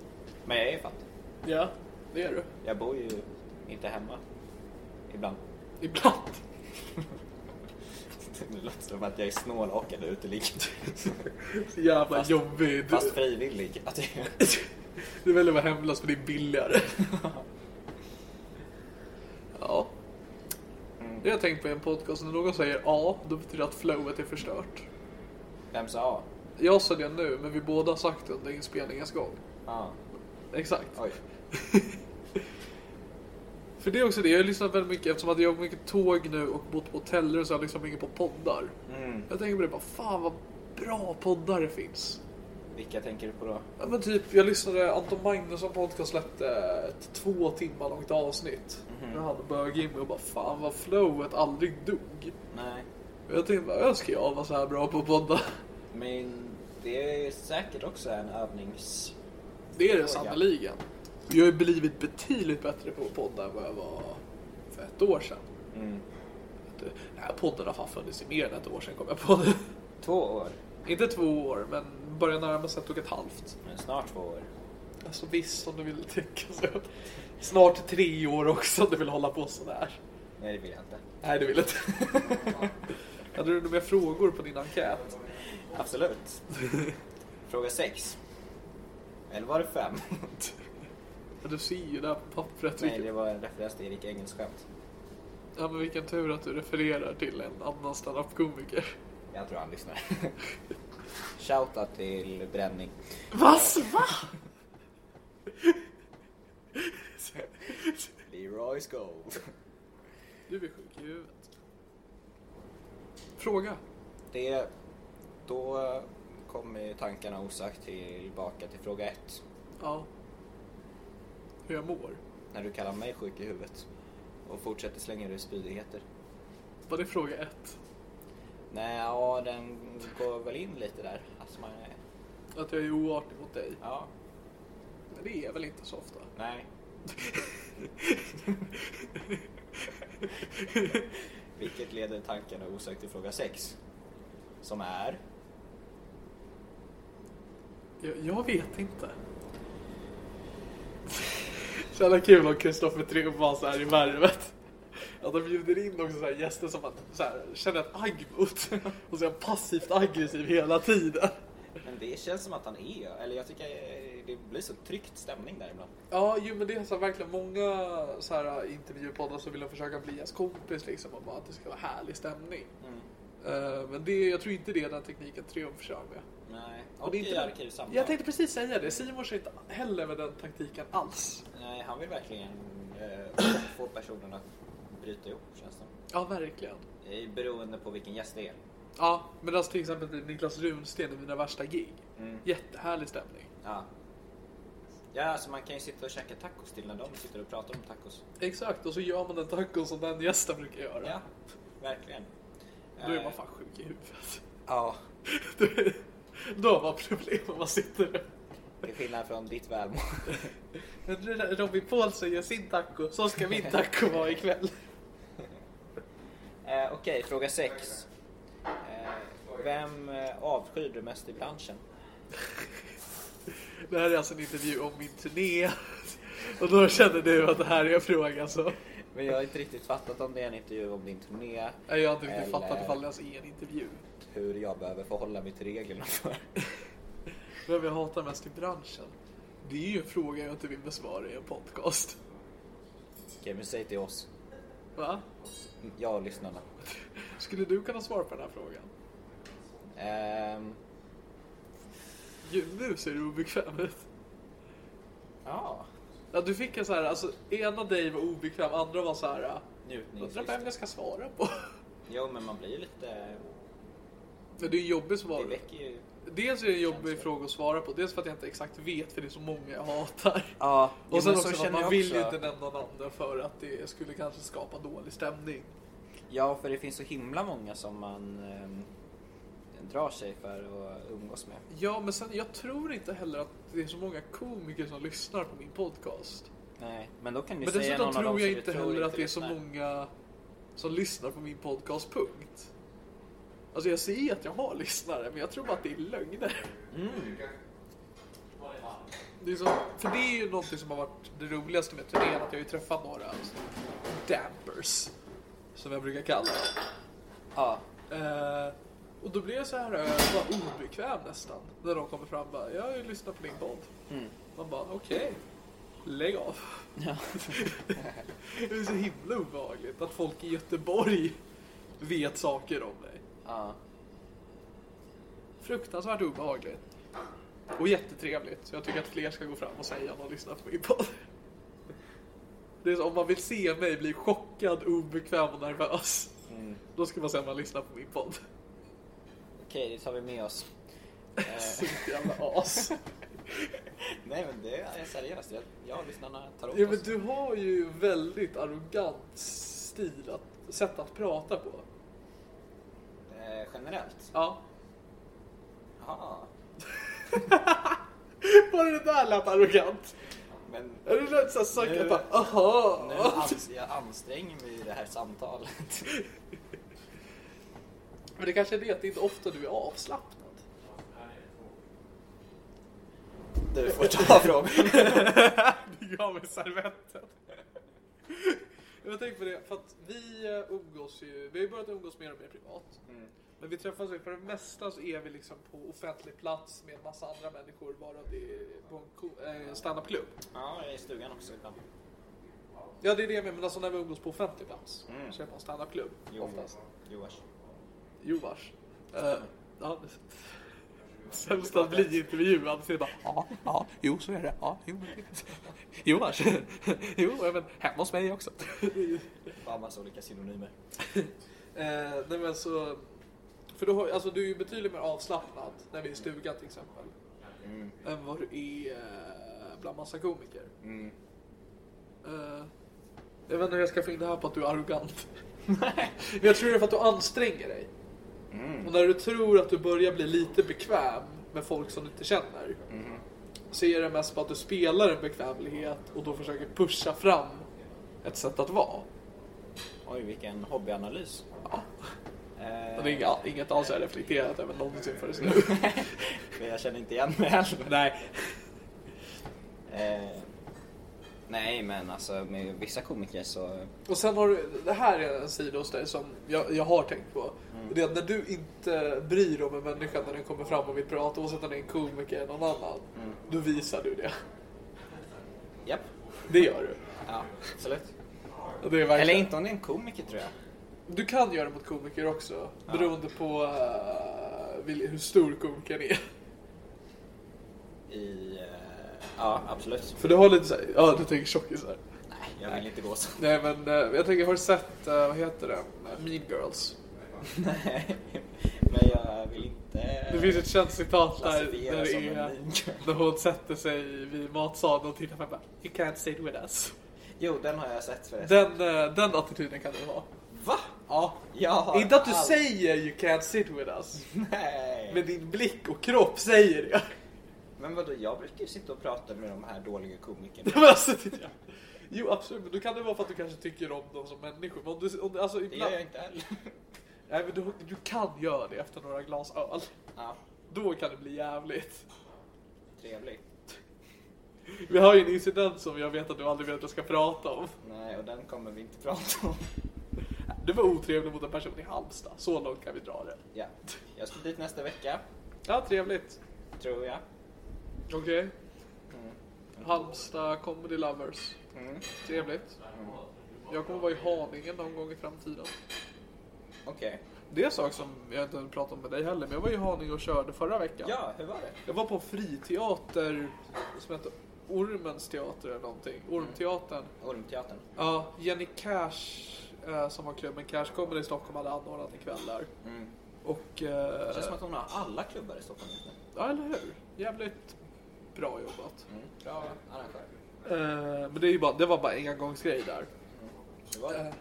[SPEAKER 4] Men jag är fattig.
[SPEAKER 3] Ja, det är du.
[SPEAKER 4] Jag bor ju inte hemma. Ibland.
[SPEAKER 3] Ibland.
[SPEAKER 4] Det låter som att jag är snål och eller uteliggande.
[SPEAKER 3] Så jävla
[SPEAKER 4] Fast-
[SPEAKER 3] jobbig. Du,
[SPEAKER 4] Fast frivillig. Att jag...
[SPEAKER 3] du väljer att vara hemlös för det är billigare. ja. Det har jag tänkt på i en podcast. När någon säger A, då betyder det att flowet är förstört.
[SPEAKER 4] Vem sa A?
[SPEAKER 3] Jag sa det nu, men vi båda har sagt det under inspelningens gång.
[SPEAKER 4] Ja,
[SPEAKER 3] Exakt.
[SPEAKER 4] oj.
[SPEAKER 3] För det är också det, jag har lyssnat väldigt mycket eftersom att jag har mycket tåg nu och bott på hoteller så har jag liksom mycket på poddar.
[SPEAKER 4] Mm.
[SPEAKER 3] Jag tänker på det bara, fan vad bra poddar det finns.
[SPEAKER 4] Vilka tänker du på då?
[SPEAKER 3] Ja, men typ, jag lyssnade, Anton Magnusson podcast släppte ett två timmar långt avsnitt. När han bög in mig och bara, fan vad flowet aldrig dog.
[SPEAKER 4] Nej,
[SPEAKER 3] Och jag tänkte bara, önskar jag var så här bra på poddar.
[SPEAKER 4] men det är säkert också en övnings...
[SPEAKER 3] Det är det
[SPEAKER 4] Ja.
[SPEAKER 3] sannerligen. Jag har ju blivit betydligt bättre på poddar än vad jag var för ett år sedan.
[SPEAKER 4] Mm.
[SPEAKER 3] Den här podden har fan funnits i mer än ett år sedan kom jag på det.
[SPEAKER 4] Två år.
[SPEAKER 3] Inte två år, men börjar närma sig ett och ett halvt.
[SPEAKER 4] Men snart två år.
[SPEAKER 3] Alltså visst, om du vill tänka så. Snart tre år också om du vill hålla på sådär.
[SPEAKER 4] Nej, det vill jag inte.
[SPEAKER 3] Nej, det vill jag inte. Hade du några mer frågor på din enkät?
[SPEAKER 4] Absolut. Fråga sex. Eller var det fem?
[SPEAKER 3] Ja, du ser ju där på pappret.
[SPEAKER 4] Nej,
[SPEAKER 3] vilken-
[SPEAKER 4] det var en referens till Erik Engels skämt.
[SPEAKER 3] Ja, men vilken tur att du refererar till en annan standup-komiker.
[SPEAKER 4] Jag tror han lyssnar. Shoutout till Bränning.
[SPEAKER 3] Vad? Va?
[SPEAKER 4] Leroy's Gold.
[SPEAKER 3] Du är sjuk i huvudet. Fråga.
[SPEAKER 4] Det, då kommer tankarna osagt tillbaka till fråga ett.
[SPEAKER 3] Ja. Hur jag mår.
[SPEAKER 4] När du kallar mig sjuk i huvudet och fortsätter slänga ut spydigheter.
[SPEAKER 3] Var det fråga ett?
[SPEAKER 4] Nej, ja, den går väl in lite där. Alltså man,
[SPEAKER 3] Att jag är oartig mot dig.
[SPEAKER 4] ja,
[SPEAKER 3] Men det är väl inte så ofta?
[SPEAKER 4] nej. Vilket leder tankarna osökt till fråga sex. Som är...
[SPEAKER 3] Jag, jag vet inte. Så jävla kul om Kristoffer Triumf var så här i värvet. Att de bjuder in också så här gäster som man så här, känner ett agg mot. Och så är han passivt aggressiv hela tiden.
[SPEAKER 4] Men det känns som att han är, eller jag tycker eh, det blir så tryckt stämning där ibland.
[SPEAKER 3] Ja, jo, men det är så här, verkligen många så här, intervjupoddar som vill de försöka bli ens kompis liksom, och bara att det ska vara härlig stämning. Eh, men det, jag tror inte det är den tekniken Triumf kör med.
[SPEAKER 4] Nej,
[SPEAKER 3] Och
[SPEAKER 4] och
[SPEAKER 3] det är
[SPEAKER 4] i
[SPEAKER 3] inte-
[SPEAKER 4] arkivsamtal.
[SPEAKER 3] Jag tänkte precis säga det, Simon kör inte heller med den taktiken alls.
[SPEAKER 4] Nej, han vill verkligen eh, få personen att bryta ihop känns det
[SPEAKER 3] Ja, verkligen.
[SPEAKER 4] som. Eh, Beroende på vilken gäst det är.
[SPEAKER 3] Ja, men alltså till exempel typ Niklas Runsten i mina värsta gig.
[SPEAKER 4] Mm.
[SPEAKER 3] Jättehärlig stämning.
[SPEAKER 4] Ja. ja, alltså man kan ju sitta och käka tacos till när de sitter och pratar om tacos.
[SPEAKER 3] Exakt, och så gör man den tacon som den gästen brukar göra.
[SPEAKER 4] Ja, verkligen.
[SPEAKER 3] Då är
[SPEAKER 4] Eh,
[SPEAKER 3] man fan sjuk i huvudet.
[SPEAKER 4] Ja,
[SPEAKER 3] Då- Då har man problem om man sitter där.
[SPEAKER 4] till skillnad från ditt välmående.
[SPEAKER 3] Men Robin Paulsen gör sin taco, så ska min taco vara ikväll.
[SPEAKER 4] Eh, Okej, fråga sex. Eh, vem eh, avskyr du mest i branschen?
[SPEAKER 3] Det här är alltså en intervju om min turné. Och då känner du att det här är en fråga så.
[SPEAKER 4] Men jag har inte riktigt fattat om det är en intervju om din turné.
[SPEAKER 3] Nej, jag har inte riktigt
[SPEAKER 4] eller
[SPEAKER 3] fattat ifall det ens är en intervju.
[SPEAKER 4] hur jag behöver förhålla mig till reglerna för.
[SPEAKER 3] Vem jag hatar mest i branschen? Det är ju en fråga jag inte vill besvara i en podcast.
[SPEAKER 4] Okej, men säg till oss.
[SPEAKER 3] Va?
[SPEAKER 4] Jag och lyssnarna.
[SPEAKER 3] Skulle du kunna svara på den här frågan?
[SPEAKER 4] Ehm,
[SPEAKER 3] Gud, nu ser du obekväm ut.
[SPEAKER 4] ja,
[SPEAKER 3] Ja, du fick en så här, alltså ena dig var obekväm, andra var så här, äh, undrar vem
[SPEAKER 4] njutningslista.
[SPEAKER 3] jag ska svara på.
[SPEAKER 4] Jo, men man blir ju lite...
[SPEAKER 3] Men det är en jobbig
[SPEAKER 4] Det
[SPEAKER 3] svar.
[SPEAKER 4] väcker ju...
[SPEAKER 3] Dels är det en jobbig fråga att svara på, dels för att jag inte exakt vet för det är så många jag hatar.
[SPEAKER 4] Ja,
[SPEAKER 3] Och sen också att man vill ju inte nämna namnen för att det skulle kanske skapa dålig stämning.
[SPEAKER 4] Ja, för det finns så himla många som man... ehm, drar sig för att umgås med.
[SPEAKER 3] Ja, men sen, jag tror inte heller att det är så många komiker som lyssnar på min podcast.
[SPEAKER 4] Nej, men då kan du
[SPEAKER 3] Men
[SPEAKER 4] säga någon
[SPEAKER 3] dessutom
[SPEAKER 4] av dem
[SPEAKER 3] tror jag
[SPEAKER 4] som
[SPEAKER 3] inte
[SPEAKER 4] du
[SPEAKER 3] heller att det är så
[SPEAKER 4] lyssnar.
[SPEAKER 3] många som lyssnar på min podcast, punkt. Alltså jag ser att jag har lyssnare, men jag tror bara att det är lögner.
[SPEAKER 4] Mm.
[SPEAKER 3] Det är så, för det är ju någonting som har varit det roligaste med turnén, att jag har ju träffat några alltså, dampers, som jag brukar kalla dem.
[SPEAKER 4] Ja,
[SPEAKER 3] Eh, och då blir jag så här eh, bara obekväm nästan. När de kommer fram och bara, jag har ju lyssnat på din podd.
[SPEAKER 4] Mm.
[SPEAKER 3] Man bara, okej. Lägg av. det är så himla obehagligt att folk i Göteborg vet saker om mig.
[SPEAKER 4] ja.
[SPEAKER 3] Fruktansvärt obehagligt. Och jättetrevligt. Så jag tycker att fler ska gå fram och säga om de lyssnar på min podd. Det är så, om man vill se mig bli chockad, obekväm och nervös. Då ska man säga att man lyssnar på min podd.
[SPEAKER 4] Okej, det tar vi med oss. Eh,
[SPEAKER 3] Sånt jävla as.
[SPEAKER 4] Nej men det är seriöst. Jag, jag och lyssnarna tar åt
[SPEAKER 3] Ja, men
[SPEAKER 4] oss.
[SPEAKER 3] du har ju väldigt arrogant stil att, sätt att prata på.
[SPEAKER 4] Eh, generellt.
[SPEAKER 3] Ja.
[SPEAKER 4] Ja,
[SPEAKER 3] Bara det där lät arrogant.
[SPEAKER 4] men
[SPEAKER 3] Det lät såhär
[SPEAKER 4] Nu-
[SPEAKER 3] sökigt. bara, Aha.
[SPEAKER 4] nu ans- jag anstränger mig i det här samtalet.
[SPEAKER 3] Men det kanske är det att det inte är ofta du är avslappnad.
[SPEAKER 4] Du får ta frågan.
[SPEAKER 3] Det gör med servetten. Jag tänker på det, för att vi eh, umgås ju, vi har ju börjat umgås mer och mer privat. Men vi träffas ju, för det mesta så är vi liksom på offentlig plats med en massa andra människor, varav det är på en ko- eh, standupklubb.
[SPEAKER 4] Ja, jag är i stugan också ibland.
[SPEAKER 3] Ja, det är det jag menar. Men alltså när vi umgås på offentlig plats så är det på en standupklubb
[SPEAKER 4] Jo,
[SPEAKER 3] oftast.
[SPEAKER 4] Jo, vars.
[SPEAKER 3] Jo, vars. Eh, ja, det... Sämst att bli intervjuad så är det bara ja, ja, jo så är det. Ja, jo, jo vars. Jo, ja, men hemma hos mig också.
[SPEAKER 4] Fan massa olika synonymer.
[SPEAKER 3] Eh, nej men så... För du, har, alltså, du är ju betydligt mer avslappnad när vi är i stugan till exempel. Än vad du är eh, bland massa komiker. Eh, jag vet inte hur jag ska få in det här på att du är arrogant. men jag tror det är för att du anstränger dig. Och när du tror att du börjar bli lite bekväm med folk som du inte känner. Så är det mest på att du spelar en bekvämlighet och då försöker pusha fram ett sätt att vara.
[SPEAKER 4] Oj, vilken hobbyanalys.
[SPEAKER 3] Och det är inga, inget alls jag har reflekterat över någonsin förrän nu.
[SPEAKER 4] Men jag känner inte igen mig heller.
[SPEAKER 3] Nej.
[SPEAKER 4] Eh, nej, men alltså med vissa komiker så...
[SPEAKER 3] Och sen har du, det här är en sida hos dig som jag, jag har tänkt på. Det är att när du inte bryr dig om en människa när den kommer fram och vill prata, oavsett om det är en komiker eller någon annan. Då visar du det.
[SPEAKER 4] Japp.
[SPEAKER 3] Det gör du.
[SPEAKER 4] Ja, absolut.
[SPEAKER 3] Och Det är
[SPEAKER 4] Eller
[SPEAKER 3] verkligen...
[SPEAKER 4] inte om det är en komiker tror jag.
[SPEAKER 3] Du kan göra det mot komiker också. Beroende på eh, vil- hur stor komikern är.
[SPEAKER 4] I... Eh, ja, absolut.
[SPEAKER 3] För du har lite såhär, ja du tänker tjockisar.
[SPEAKER 4] Nej, jag vill inte gå så.
[SPEAKER 3] Nej men eh, jag tänker, har du sett, eh, vad heter den? Mean Girls.
[SPEAKER 4] Nej, men jag vill inte...
[SPEAKER 3] Det finns ett känt citat där,
[SPEAKER 4] Klassifiera
[SPEAKER 3] där
[SPEAKER 4] Alltså, som
[SPEAKER 3] det
[SPEAKER 4] en
[SPEAKER 3] är
[SPEAKER 4] ninja.
[SPEAKER 3] när hon sätter sig vid matsalen och tittar på mig bara You can't sit with us.
[SPEAKER 4] Jo, den har jag sett förresten.
[SPEAKER 3] Den, eh, den attityden kan du ha.
[SPEAKER 4] Va?
[SPEAKER 3] Ja.
[SPEAKER 4] Jag har
[SPEAKER 3] Inte att du
[SPEAKER 4] all-
[SPEAKER 3] säger You can't sit with us.
[SPEAKER 4] Nej.
[SPEAKER 3] Men din blick och kropp säger det.
[SPEAKER 4] Men vadå, jag brukar ju sitta och prata med de här dåliga komikerna.
[SPEAKER 3] Men alltså, det- ja. Jo absolut, men då kan det vara för att du kanske tycker om dem som människor. Men om du, om, du- alltså,
[SPEAKER 4] Det gör
[SPEAKER 3] ibland,
[SPEAKER 4] jag inte heller.
[SPEAKER 3] nej, men du, du kan göra det efter några glas öl.
[SPEAKER 4] Ja,
[SPEAKER 3] Då kan det bli jävligt.
[SPEAKER 4] trevlig.
[SPEAKER 3] Vi har ju en incident som jag vet att du aldrig vet att jag ska prata om.
[SPEAKER 4] Nej, och den kommer vi inte prata om.
[SPEAKER 3] Du var otrevlig mot en person i Halmstad. Så långt kan vi dra det.
[SPEAKER 4] Ja, jag ska dit nästa vecka,
[SPEAKER 3] Ja, trevligt.
[SPEAKER 4] tror jag.
[SPEAKER 3] Okej.
[SPEAKER 4] Mm.
[SPEAKER 3] Halmstad Comedy Lovers. Trevligt. Jag kommer vara i Haninge någon gång i framtiden.
[SPEAKER 4] Okej.
[SPEAKER 3] Det är en sak som jag inte har pratat om med dig heller, men jag var i Haninge och körde förra veckan.
[SPEAKER 4] Ja, hur var det?
[SPEAKER 3] Jag var på en friteater som heter Ormens teater eller någonting.
[SPEAKER 4] Mm.
[SPEAKER 3] Ormteatern.
[SPEAKER 4] Ormteatern.
[SPEAKER 3] Ja, Jenny Cash eh, som har klubben Cash Comedy i Stockholm hade anordnat en kväll där. Och...
[SPEAKER 4] Det
[SPEAKER 3] Eh,
[SPEAKER 4] Mm. känns som att hon har alla klubbar i Stockholm just nu.
[SPEAKER 3] ja, eller hur? Jävligt bra jobbat.
[SPEAKER 4] Bra arrangör.
[SPEAKER 3] Eh, men det, är ju bara, det var bara en engångsgrej där. Eh,
[SPEAKER 4] Hur var det?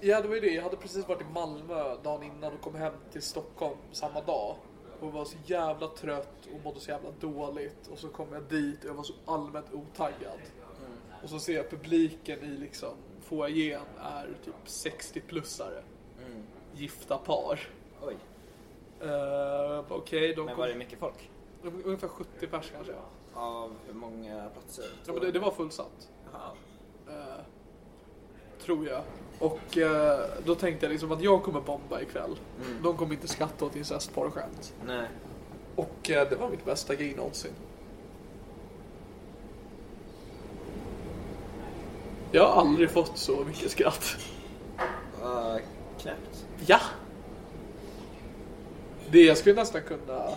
[SPEAKER 3] Ja, det var ju det. Jag hade precis varit i Malmö dagen innan och kom hem till Stockholm samma dag. och var så jävla trött och mådde så jävla dåligt. Och så kom jag dit och jag var så allmänt otaggad.
[SPEAKER 4] Mm.
[SPEAKER 3] Och så ser jag publiken i liksom foajén är typ 60-plussare.
[SPEAKER 4] Mm.
[SPEAKER 3] Gifta par.
[SPEAKER 4] Oj,
[SPEAKER 3] Eh, jag bara, Okej, de
[SPEAKER 4] men
[SPEAKER 3] kom...
[SPEAKER 4] var det mycket folk?
[SPEAKER 3] Ungefär 70 pers kanske. Ja,
[SPEAKER 4] Av hur många platser?
[SPEAKER 3] men det, det var fullsatt. Eh,
[SPEAKER 4] Jaha.
[SPEAKER 3] Tror jag. Och eh, då tänkte jag liksom att jag kommer bomba ikväll. De kommer inte skratta åt incestporrskämt.
[SPEAKER 4] Nej.
[SPEAKER 3] Och eh, det var mitt bästa gig någonsin. Jag har aldrig fått så mycket skratt.
[SPEAKER 4] Uh, knäppt.
[SPEAKER 3] Ja! Det jag skulle nästan kunna...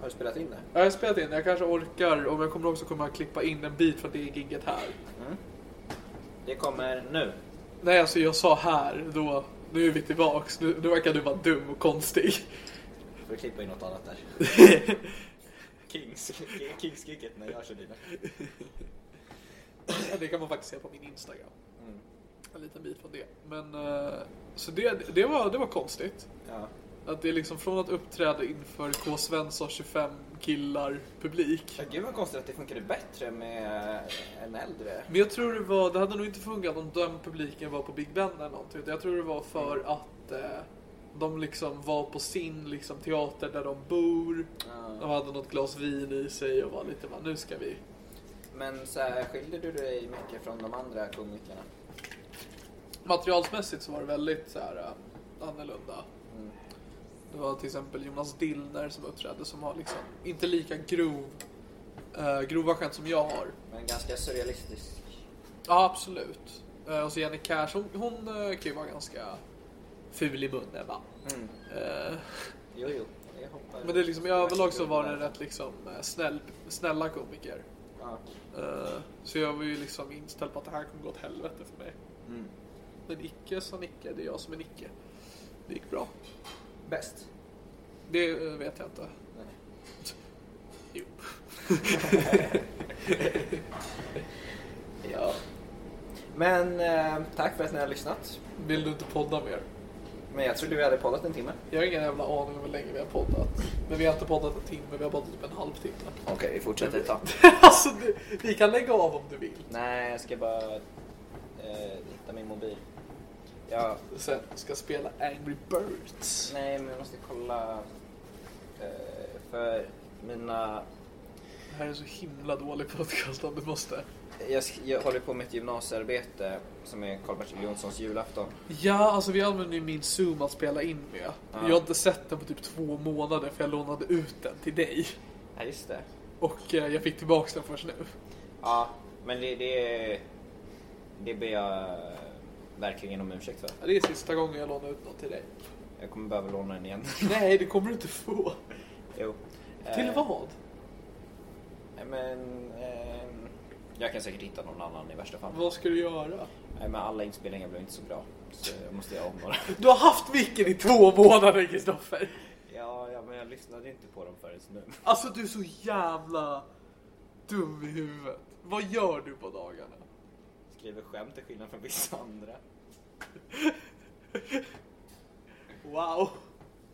[SPEAKER 4] Har du spelat in det?
[SPEAKER 3] Ja, Jag har spelat in, jag kanske orkar. Om jag kommer också kommer jag klippa in en bit från det gigget här.
[SPEAKER 4] Det kommer nu.
[SPEAKER 3] Nej, alltså jag sa här, då... Nu är vi tillbaks. Nu, nu verkar du vara dum och konstig.
[SPEAKER 4] Får du klippa in något annat där? Kings. Kings-giget när jag kör dina.
[SPEAKER 3] Ja, Det kan man faktiskt se på min Instagram. En liten bit från det. Men, eh, så det, det, var, det var konstigt.
[SPEAKER 4] Ja.
[SPEAKER 3] Att det är liksom från att uppträda inför K. Svensson 25 killar publik.
[SPEAKER 4] Ja, Gud vad konstigt att det funkade bättre med en äldre.
[SPEAKER 3] Men jag tror det var, det hade nog inte funkat om den publiken var på Big Ben eller någonting. Utan Jag tror det var för att eh, de liksom var på sin liksom, teater där de bor. De hade något glas vin i sig och var lite bara, nu ska vi.
[SPEAKER 4] Men så här, skiljer du dig mycket från de andra komikerna?
[SPEAKER 3] Materialsmässigt så var det väldigt så här, eh, annorlunda. Det var till exempel Jonas Dillner som uppträdde som har liksom inte lika grov, eh, grova skämt som jag har.
[SPEAKER 4] Men ganska surrealistisk.
[SPEAKER 3] Ja, absolut. Eh, och så Jenny Cash, hon, hon eh, kan ju vara ganska ful i munnen va. Eh,
[SPEAKER 4] Jo, jo. Jag hoppar.
[SPEAKER 3] men det är liksom, i överlag så var det rätt liksom eh, snäll, snälla komiker.
[SPEAKER 4] Ja.
[SPEAKER 3] Eh, så jag var ju liksom inställd på att det här kommer gå åt helvete för mig. Men icke sa Nicke, det är jag som är Nicke. Det gick bra.
[SPEAKER 4] Bäst?
[SPEAKER 3] Det eh, vet jag inte.
[SPEAKER 4] Nej.
[SPEAKER 3] Jo.
[SPEAKER 4] Ja. Men eh, tack för att ni har lyssnat.
[SPEAKER 3] Vill du inte podda mer?
[SPEAKER 4] Men jag trodde vi hade poddat en timme.
[SPEAKER 3] Jag har ingen jävla aning om hur länge vi har poddat. Men vi har inte poddat en timme, vi har poddat typ en halvtimme.
[SPEAKER 4] Okej, vi fortsätter ett tag.
[SPEAKER 3] alltså, du, vi kan lägga av om du vill.
[SPEAKER 4] Nej, jag ska bara eh, hitta min mobil. Ja,
[SPEAKER 3] Sen ska spela Angry Birds.
[SPEAKER 4] nej, men jag måste kolla. Eh, för mina...
[SPEAKER 3] Det här är en så himla dålig podcast om du måste.
[SPEAKER 4] Jag, sk- jag håller på med ett gymnasiearbete som är Karl-Bertil Jonssons julafton.
[SPEAKER 3] Ja, alltså vi använder ju min Zoom att spela in med. Jag har inte sett den på typ två månader för jag lånade ut den till dig.
[SPEAKER 4] Ja, just det.
[SPEAKER 3] Och eh, jag fick tillbaka den först nu.
[SPEAKER 4] Ja, men det, det, det ber jag verkligen om ursäkt för.
[SPEAKER 3] Ja, Det är sista gången jag lånar ut något till dig.
[SPEAKER 4] Jag kommer behöva låna den igen.
[SPEAKER 3] Nej, det kommer du inte få.
[SPEAKER 4] jo.
[SPEAKER 3] Till
[SPEAKER 4] Eh,
[SPEAKER 3] vad?
[SPEAKER 4] Men, ehm, jag kan säkert hitta någon annan i värsta fall.
[SPEAKER 3] Vad ska du göra?
[SPEAKER 4] Nej, men alla inspelningar blev inte så bra. Så jag måste göra om några.
[SPEAKER 3] Du har haft micken i två månader, Kristoffer.
[SPEAKER 4] ja, ja, men jag lyssnade inte på dem förrän nu.
[SPEAKER 3] Alltså du är så jävla dum i huvudet. Vad gör du på dagarna?
[SPEAKER 4] Skriver skämt till skillnad från vissa andra.
[SPEAKER 3] Wow.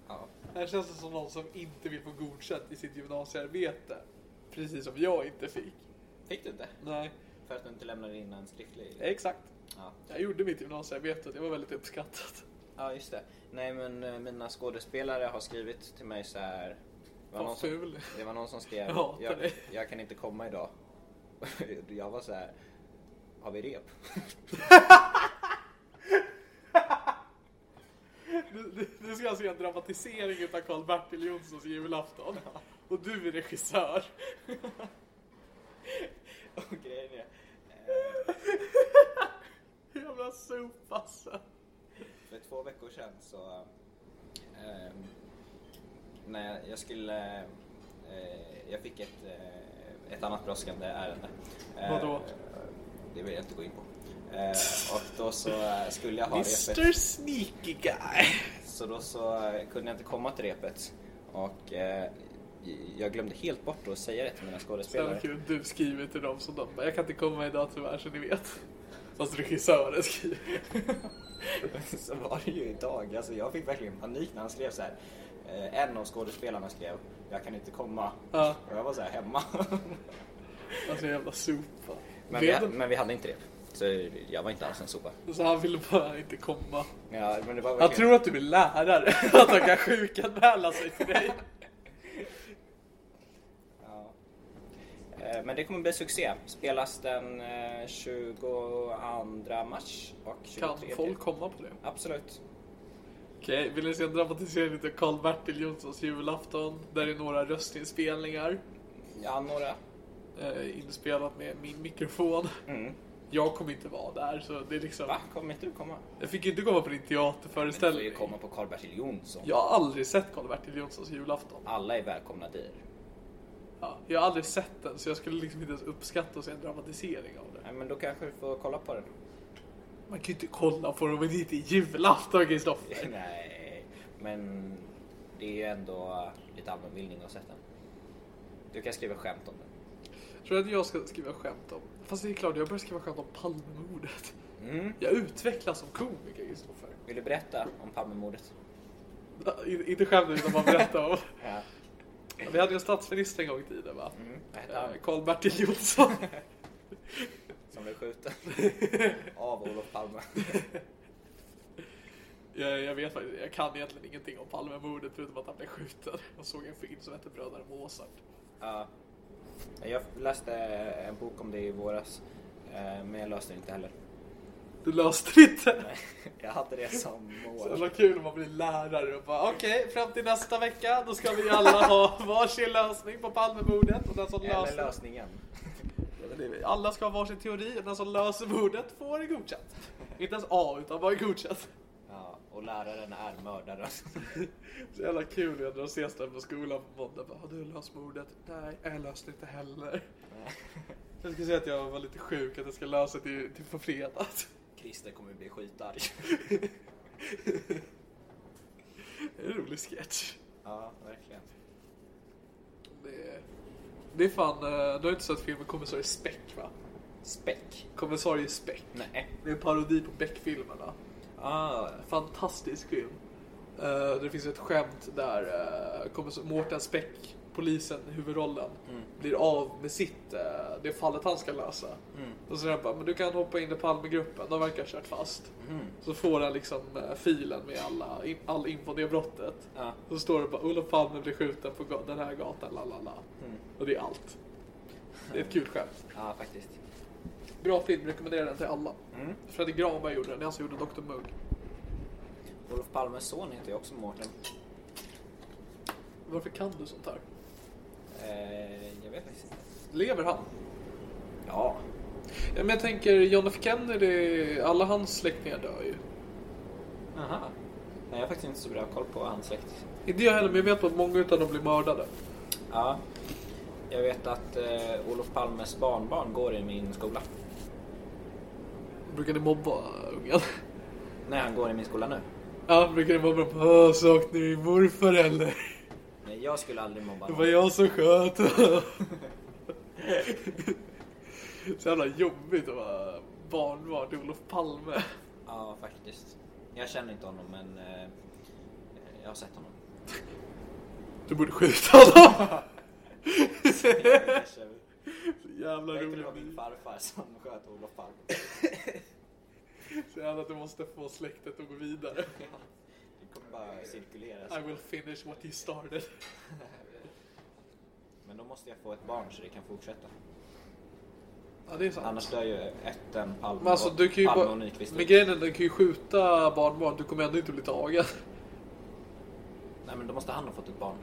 [SPEAKER 4] Ja.
[SPEAKER 3] Här känns det som någon som inte vill få godkänt i sitt gymnasiearbete. Precis som jag inte fick.
[SPEAKER 4] Fick du inte?
[SPEAKER 3] Nej,
[SPEAKER 4] För att du inte lämnade in en skriftlig?
[SPEAKER 3] exakt.
[SPEAKER 4] Ja.
[SPEAKER 3] Jag gjorde mitt gymnasiearbete och det var väldigt uppskattat.
[SPEAKER 4] ja, just det. Nej, men eh, mina skådespelare har skrivit till mig så här. Det var,
[SPEAKER 3] Vad
[SPEAKER 4] någon som,
[SPEAKER 3] ful.
[SPEAKER 4] det var någon som skrev
[SPEAKER 3] Jag hatar
[SPEAKER 4] jag,
[SPEAKER 3] dig."
[SPEAKER 4] jag kan inte komma idag. jag var så här. Har vi rep?
[SPEAKER 3] Nu- nu- Nu ska jag se en dramatisering utav Karl-Bertil Jonssons julafton. Och du är regissör.
[SPEAKER 4] Och grejen är,
[SPEAKER 3] Jävla sopasse.
[SPEAKER 4] För två veckor sedan så... Eh, när jag skulle... Eh, jag fick ett, eh, ett annat brådskande ärende. Eh,
[SPEAKER 3] Vadå?
[SPEAKER 4] Det vill jag inte gå in på. Eh, och då så eh, skulle jag ha
[SPEAKER 3] Mr
[SPEAKER 4] repet.
[SPEAKER 3] Sneaky Guy.
[SPEAKER 4] Så då så eh, kunde jag inte komma till repet. Och eh, jag glömde helt bort att säga det till mina
[SPEAKER 3] Sen
[SPEAKER 4] skådespelare.
[SPEAKER 3] kul, du skriver till dem som de bara, jag kan inte komma idag tyvärr så ni vet. Fast regissören skriver.
[SPEAKER 4] så var det ju idag. Alltså jag fick verkligen panik när han skrev så här. Eh, En av skådespelarna skrev jag kan inte komma.
[SPEAKER 3] Ja,
[SPEAKER 4] Och jag var så här hemma.
[SPEAKER 3] alltså en jävla sopa.
[SPEAKER 4] Men vi,
[SPEAKER 3] Vet-
[SPEAKER 4] men vi hade inte det. Så jag var inte alls en sopa.
[SPEAKER 3] Så han ville bara inte komma.
[SPEAKER 4] Ja, men det var
[SPEAKER 3] Han
[SPEAKER 4] verkligen...
[SPEAKER 3] tror att du är lärare. Att han kan sjukanmäla sig till dig.
[SPEAKER 4] Ja. Eh, Men det kommer bli succé. Spelas den eh, 22 mars och 23
[SPEAKER 3] Kan folk komma på det?
[SPEAKER 4] Absolut.
[SPEAKER 3] Okej, vill ni se en dramatisering av Karl-Bertil Jonssons julafton? Där det är några röstinspelningar.
[SPEAKER 4] Ja, några.
[SPEAKER 3] Eh, inspelat med min mikrofon.
[SPEAKER 4] Mm.
[SPEAKER 3] Jag kommer inte vara där, så det är liksom...
[SPEAKER 4] Va? Kommer inte du komma?
[SPEAKER 3] Jag fick ju inte komma på din
[SPEAKER 4] Du får ju
[SPEAKER 3] teaterföreställning.
[SPEAKER 4] komma på Karl-Bertil Jonsson.
[SPEAKER 3] Jag har aldrig sett Karl-Bertil Jonssons julafton.
[SPEAKER 4] Alla är välkomna dit.
[SPEAKER 3] Ja, jag har aldrig sett den, så jag skulle liksom inte ens uppskatta att se en dramatisering av det.
[SPEAKER 4] Nej, men då kanske du får kolla på den.
[SPEAKER 3] Man kan ju inte kolla på det om det inte är julafton, Kristoffer.
[SPEAKER 4] Nej, men det är ju ändå lite allmänbildning att sett den. Du kan skriva skämt om den.
[SPEAKER 3] Tror du att jag ska skriva skämt om... Fast det är klart, jag börjar skriva skämt om Palmemordet.
[SPEAKER 4] Mm.
[SPEAKER 3] Jag utvecklas som komiker, Kristoffer.
[SPEAKER 4] Vill du berätta om Palmemordet?
[SPEAKER 3] I- Inte skämt utan bara berätta om.
[SPEAKER 4] Ja.
[SPEAKER 3] Vi hade ju en statsminister en gång i tiden va?
[SPEAKER 4] Mm. Vad hette han?
[SPEAKER 3] Eh, Karl-Bertil Jonsson.
[SPEAKER 4] Som blev skjuten av Olof Palme.
[SPEAKER 3] jag, jag vet faktiskt, jag kan egentligen ingenting om Palmemordet förutom att han blev skjuten. Jag såg en film som hette Bröderna Mozart.
[SPEAKER 4] Ja. Jag läste en bok om det i våras, eh, men jag löste det inte heller.
[SPEAKER 3] Du löste det inte.
[SPEAKER 4] Jag hade det som
[SPEAKER 3] Så
[SPEAKER 4] mål.
[SPEAKER 3] jävla kul om man blir lärare och bara okej, fram till nästa vecka då ska vi alla ha varsin lösning på Palmemordet och den som
[SPEAKER 4] Eller
[SPEAKER 3] löser...
[SPEAKER 4] lösningen.
[SPEAKER 3] Alla ska ha varsin teori och den som löser mordet får godkänt. Inte ens A utan bara godkänt.
[SPEAKER 4] Ja, och läraren är mördaren.
[SPEAKER 3] Så jävla kul när de ses där på skolan på måndag. Bara, har du löst mordet? Nej, jag löste inte heller. Jag ska säga att jag var lite sjuk, att jag ska lösa det till, till på fredag.
[SPEAKER 4] Christer kommer bli skitarg.
[SPEAKER 3] Det är en rolig sketch.
[SPEAKER 4] Ja, verkligen.
[SPEAKER 3] Det är, det är fan, eh, du har inte sett filmen Kommissarie Speck va?
[SPEAKER 4] Späck?
[SPEAKER 3] Kommissarie Speck.
[SPEAKER 4] Nej.
[SPEAKER 3] Det är en parodi på Beck-filmerna.
[SPEAKER 4] Ah,
[SPEAKER 3] Fantastisk film. Eh, det finns ett skämt där eh, kommissar- Mårten Speck, polisen i huvudrollen,
[SPEAKER 4] Mm.
[SPEAKER 3] blir av med sitt, eh, det fallet han ska lösa.
[SPEAKER 4] Mm.
[SPEAKER 3] Och så säger han bara, men du kan hoppa in i Palmegruppen, de verkar ha kört fast.
[SPEAKER 4] Mm.
[SPEAKER 3] Så får han liksom eh, filen med alla, in, all info om det brottet.
[SPEAKER 4] Ja.
[SPEAKER 3] Så står det bara, Olof Palme blir skjuten på ga- den här gatan, la la la.
[SPEAKER 4] Mm.
[SPEAKER 3] Och det är allt. Det är ett kul skämt.
[SPEAKER 4] ja, faktiskt.
[SPEAKER 3] Bra film, rekommenderar den till alla.
[SPEAKER 4] Mm.
[SPEAKER 3] Fredrik Granberg gjorde den, det är han som gjorde Dr Mugg.
[SPEAKER 4] Olof Palmes son heter ju också Mårten.
[SPEAKER 3] Varför kan du sånt här?
[SPEAKER 4] Eh, jag vet faktiskt inte.
[SPEAKER 3] Lever han?
[SPEAKER 4] Ja.
[SPEAKER 3] Ja, men jag tänker John F Kennedy, alla hans släktingar dör ju.
[SPEAKER 4] Aha. Nej, jag har faktiskt inte så bra koll på hans släkt.
[SPEAKER 3] Inte jag heller, men jag vet att många utav dem blir mördade.
[SPEAKER 4] Ja. Jag vet att eh, Olof Palmes barnbarn går i min skola.
[SPEAKER 3] Brukar ni mobba ungen?
[SPEAKER 4] Nej, han går i min skola nu.
[SPEAKER 3] Ja, brukar ni mobba dem? Åh, saknar ni morfar eller?
[SPEAKER 4] Nej, jag skulle aldrig mobba
[SPEAKER 3] Det var
[SPEAKER 4] honom.
[SPEAKER 3] jag som sköt. Så jävla jobbigt att vara barnbarn till Olof Palme.
[SPEAKER 4] Ja, faktiskt. Jag känner inte honom, men eh, jag har sett honom.
[SPEAKER 3] Du borde skjuta honom!
[SPEAKER 4] Jag
[SPEAKER 3] Så jävla
[SPEAKER 4] tror det var min
[SPEAKER 3] roligt.
[SPEAKER 4] farfar som sköt Olof Palme.
[SPEAKER 3] Så jävla att du måste få släktet att gå vidare.
[SPEAKER 4] Det kommer bara cirkulera.
[SPEAKER 3] I will finish what he started.
[SPEAKER 4] Men då måste jag få ett barn så det kan fortsätta.
[SPEAKER 3] Ja, det är sant.
[SPEAKER 4] Annars dör ju ätten Palme,
[SPEAKER 3] Men alltså,
[SPEAKER 4] och-
[SPEAKER 3] du kan ju
[SPEAKER 4] Palme
[SPEAKER 3] bara...
[SPEAKER 4] och Nyqvist.
[SPEAKER 3] Men grejen är, du kan ju skjuta barnbarn, du kommer ändå inte bli tagen.
[SPEAKER 4] Nej, men då måste han ha fått ett barn.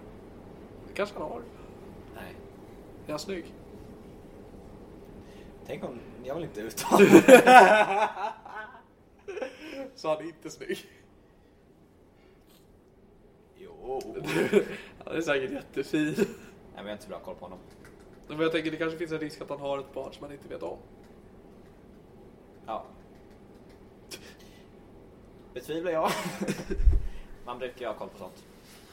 [SPEAKER 3] Det kanske han har.
[SPEAKER 4] Nej.
[SPEAKER 3] Är han snygg?
[SPEAKER 4] Tänk om... Jag vill inte uttala mig.
[SPEAKER 3] Så han är inte snygg.
[SPEAKER 4] Jo.
[SPEAKER 3] Han är säkert jättefin.
[SPEAKER 4] Nej, men jag har inte så bra koll på honom.
[SPEAKER 3] Men jag tänker, det kanske finns en risk att han har ett barn som han inte vet om.
[SPEAKER 4] Ja. Betvivlar jag. Man brukar ju ha koll på sånt.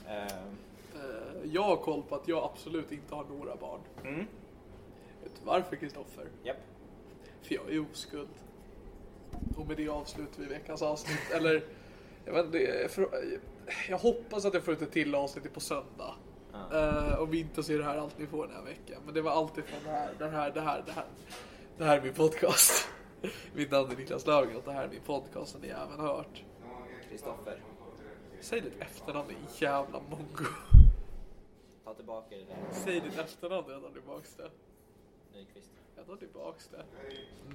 [SPEAKER 4] Ehm,
[SPEAKER 3] Eh, Jag har koll på att jag absolut inte har några barn.
[SPEAKER 4] Mm.
[SPEAKER 3] Vet du varför, Kristoffer?
[SPEAKER 4] Japp.
[SPEAKER 3] För jag är oskuld. Och med det avslutar vi veckans avsnitt. Eller, jag, vet, inte, för, jag hoppas att jag får ut ett till avsnitt på söndag. Eh, om vi inte ser det här allt ni får den här veckan. Men det var allt ifrån det här, det här, det här, det här. Det här är min podcast. Mitt namn är Niklas Löfgren och det här är min podcast som ni även hört.
[SPEAKER 4] Kristoffer,
[SPEAKER 3] Säg ditt efternamn din jävla mongo.
[SPEAKER 4] ta tillbaka det där.
[SPEAKER 3] Säg ditt efternamn jag tar tillbaks det.
[SPEAKER 4] Nyqvist.
[SPEAKER 3] Jag tar tillbaks det.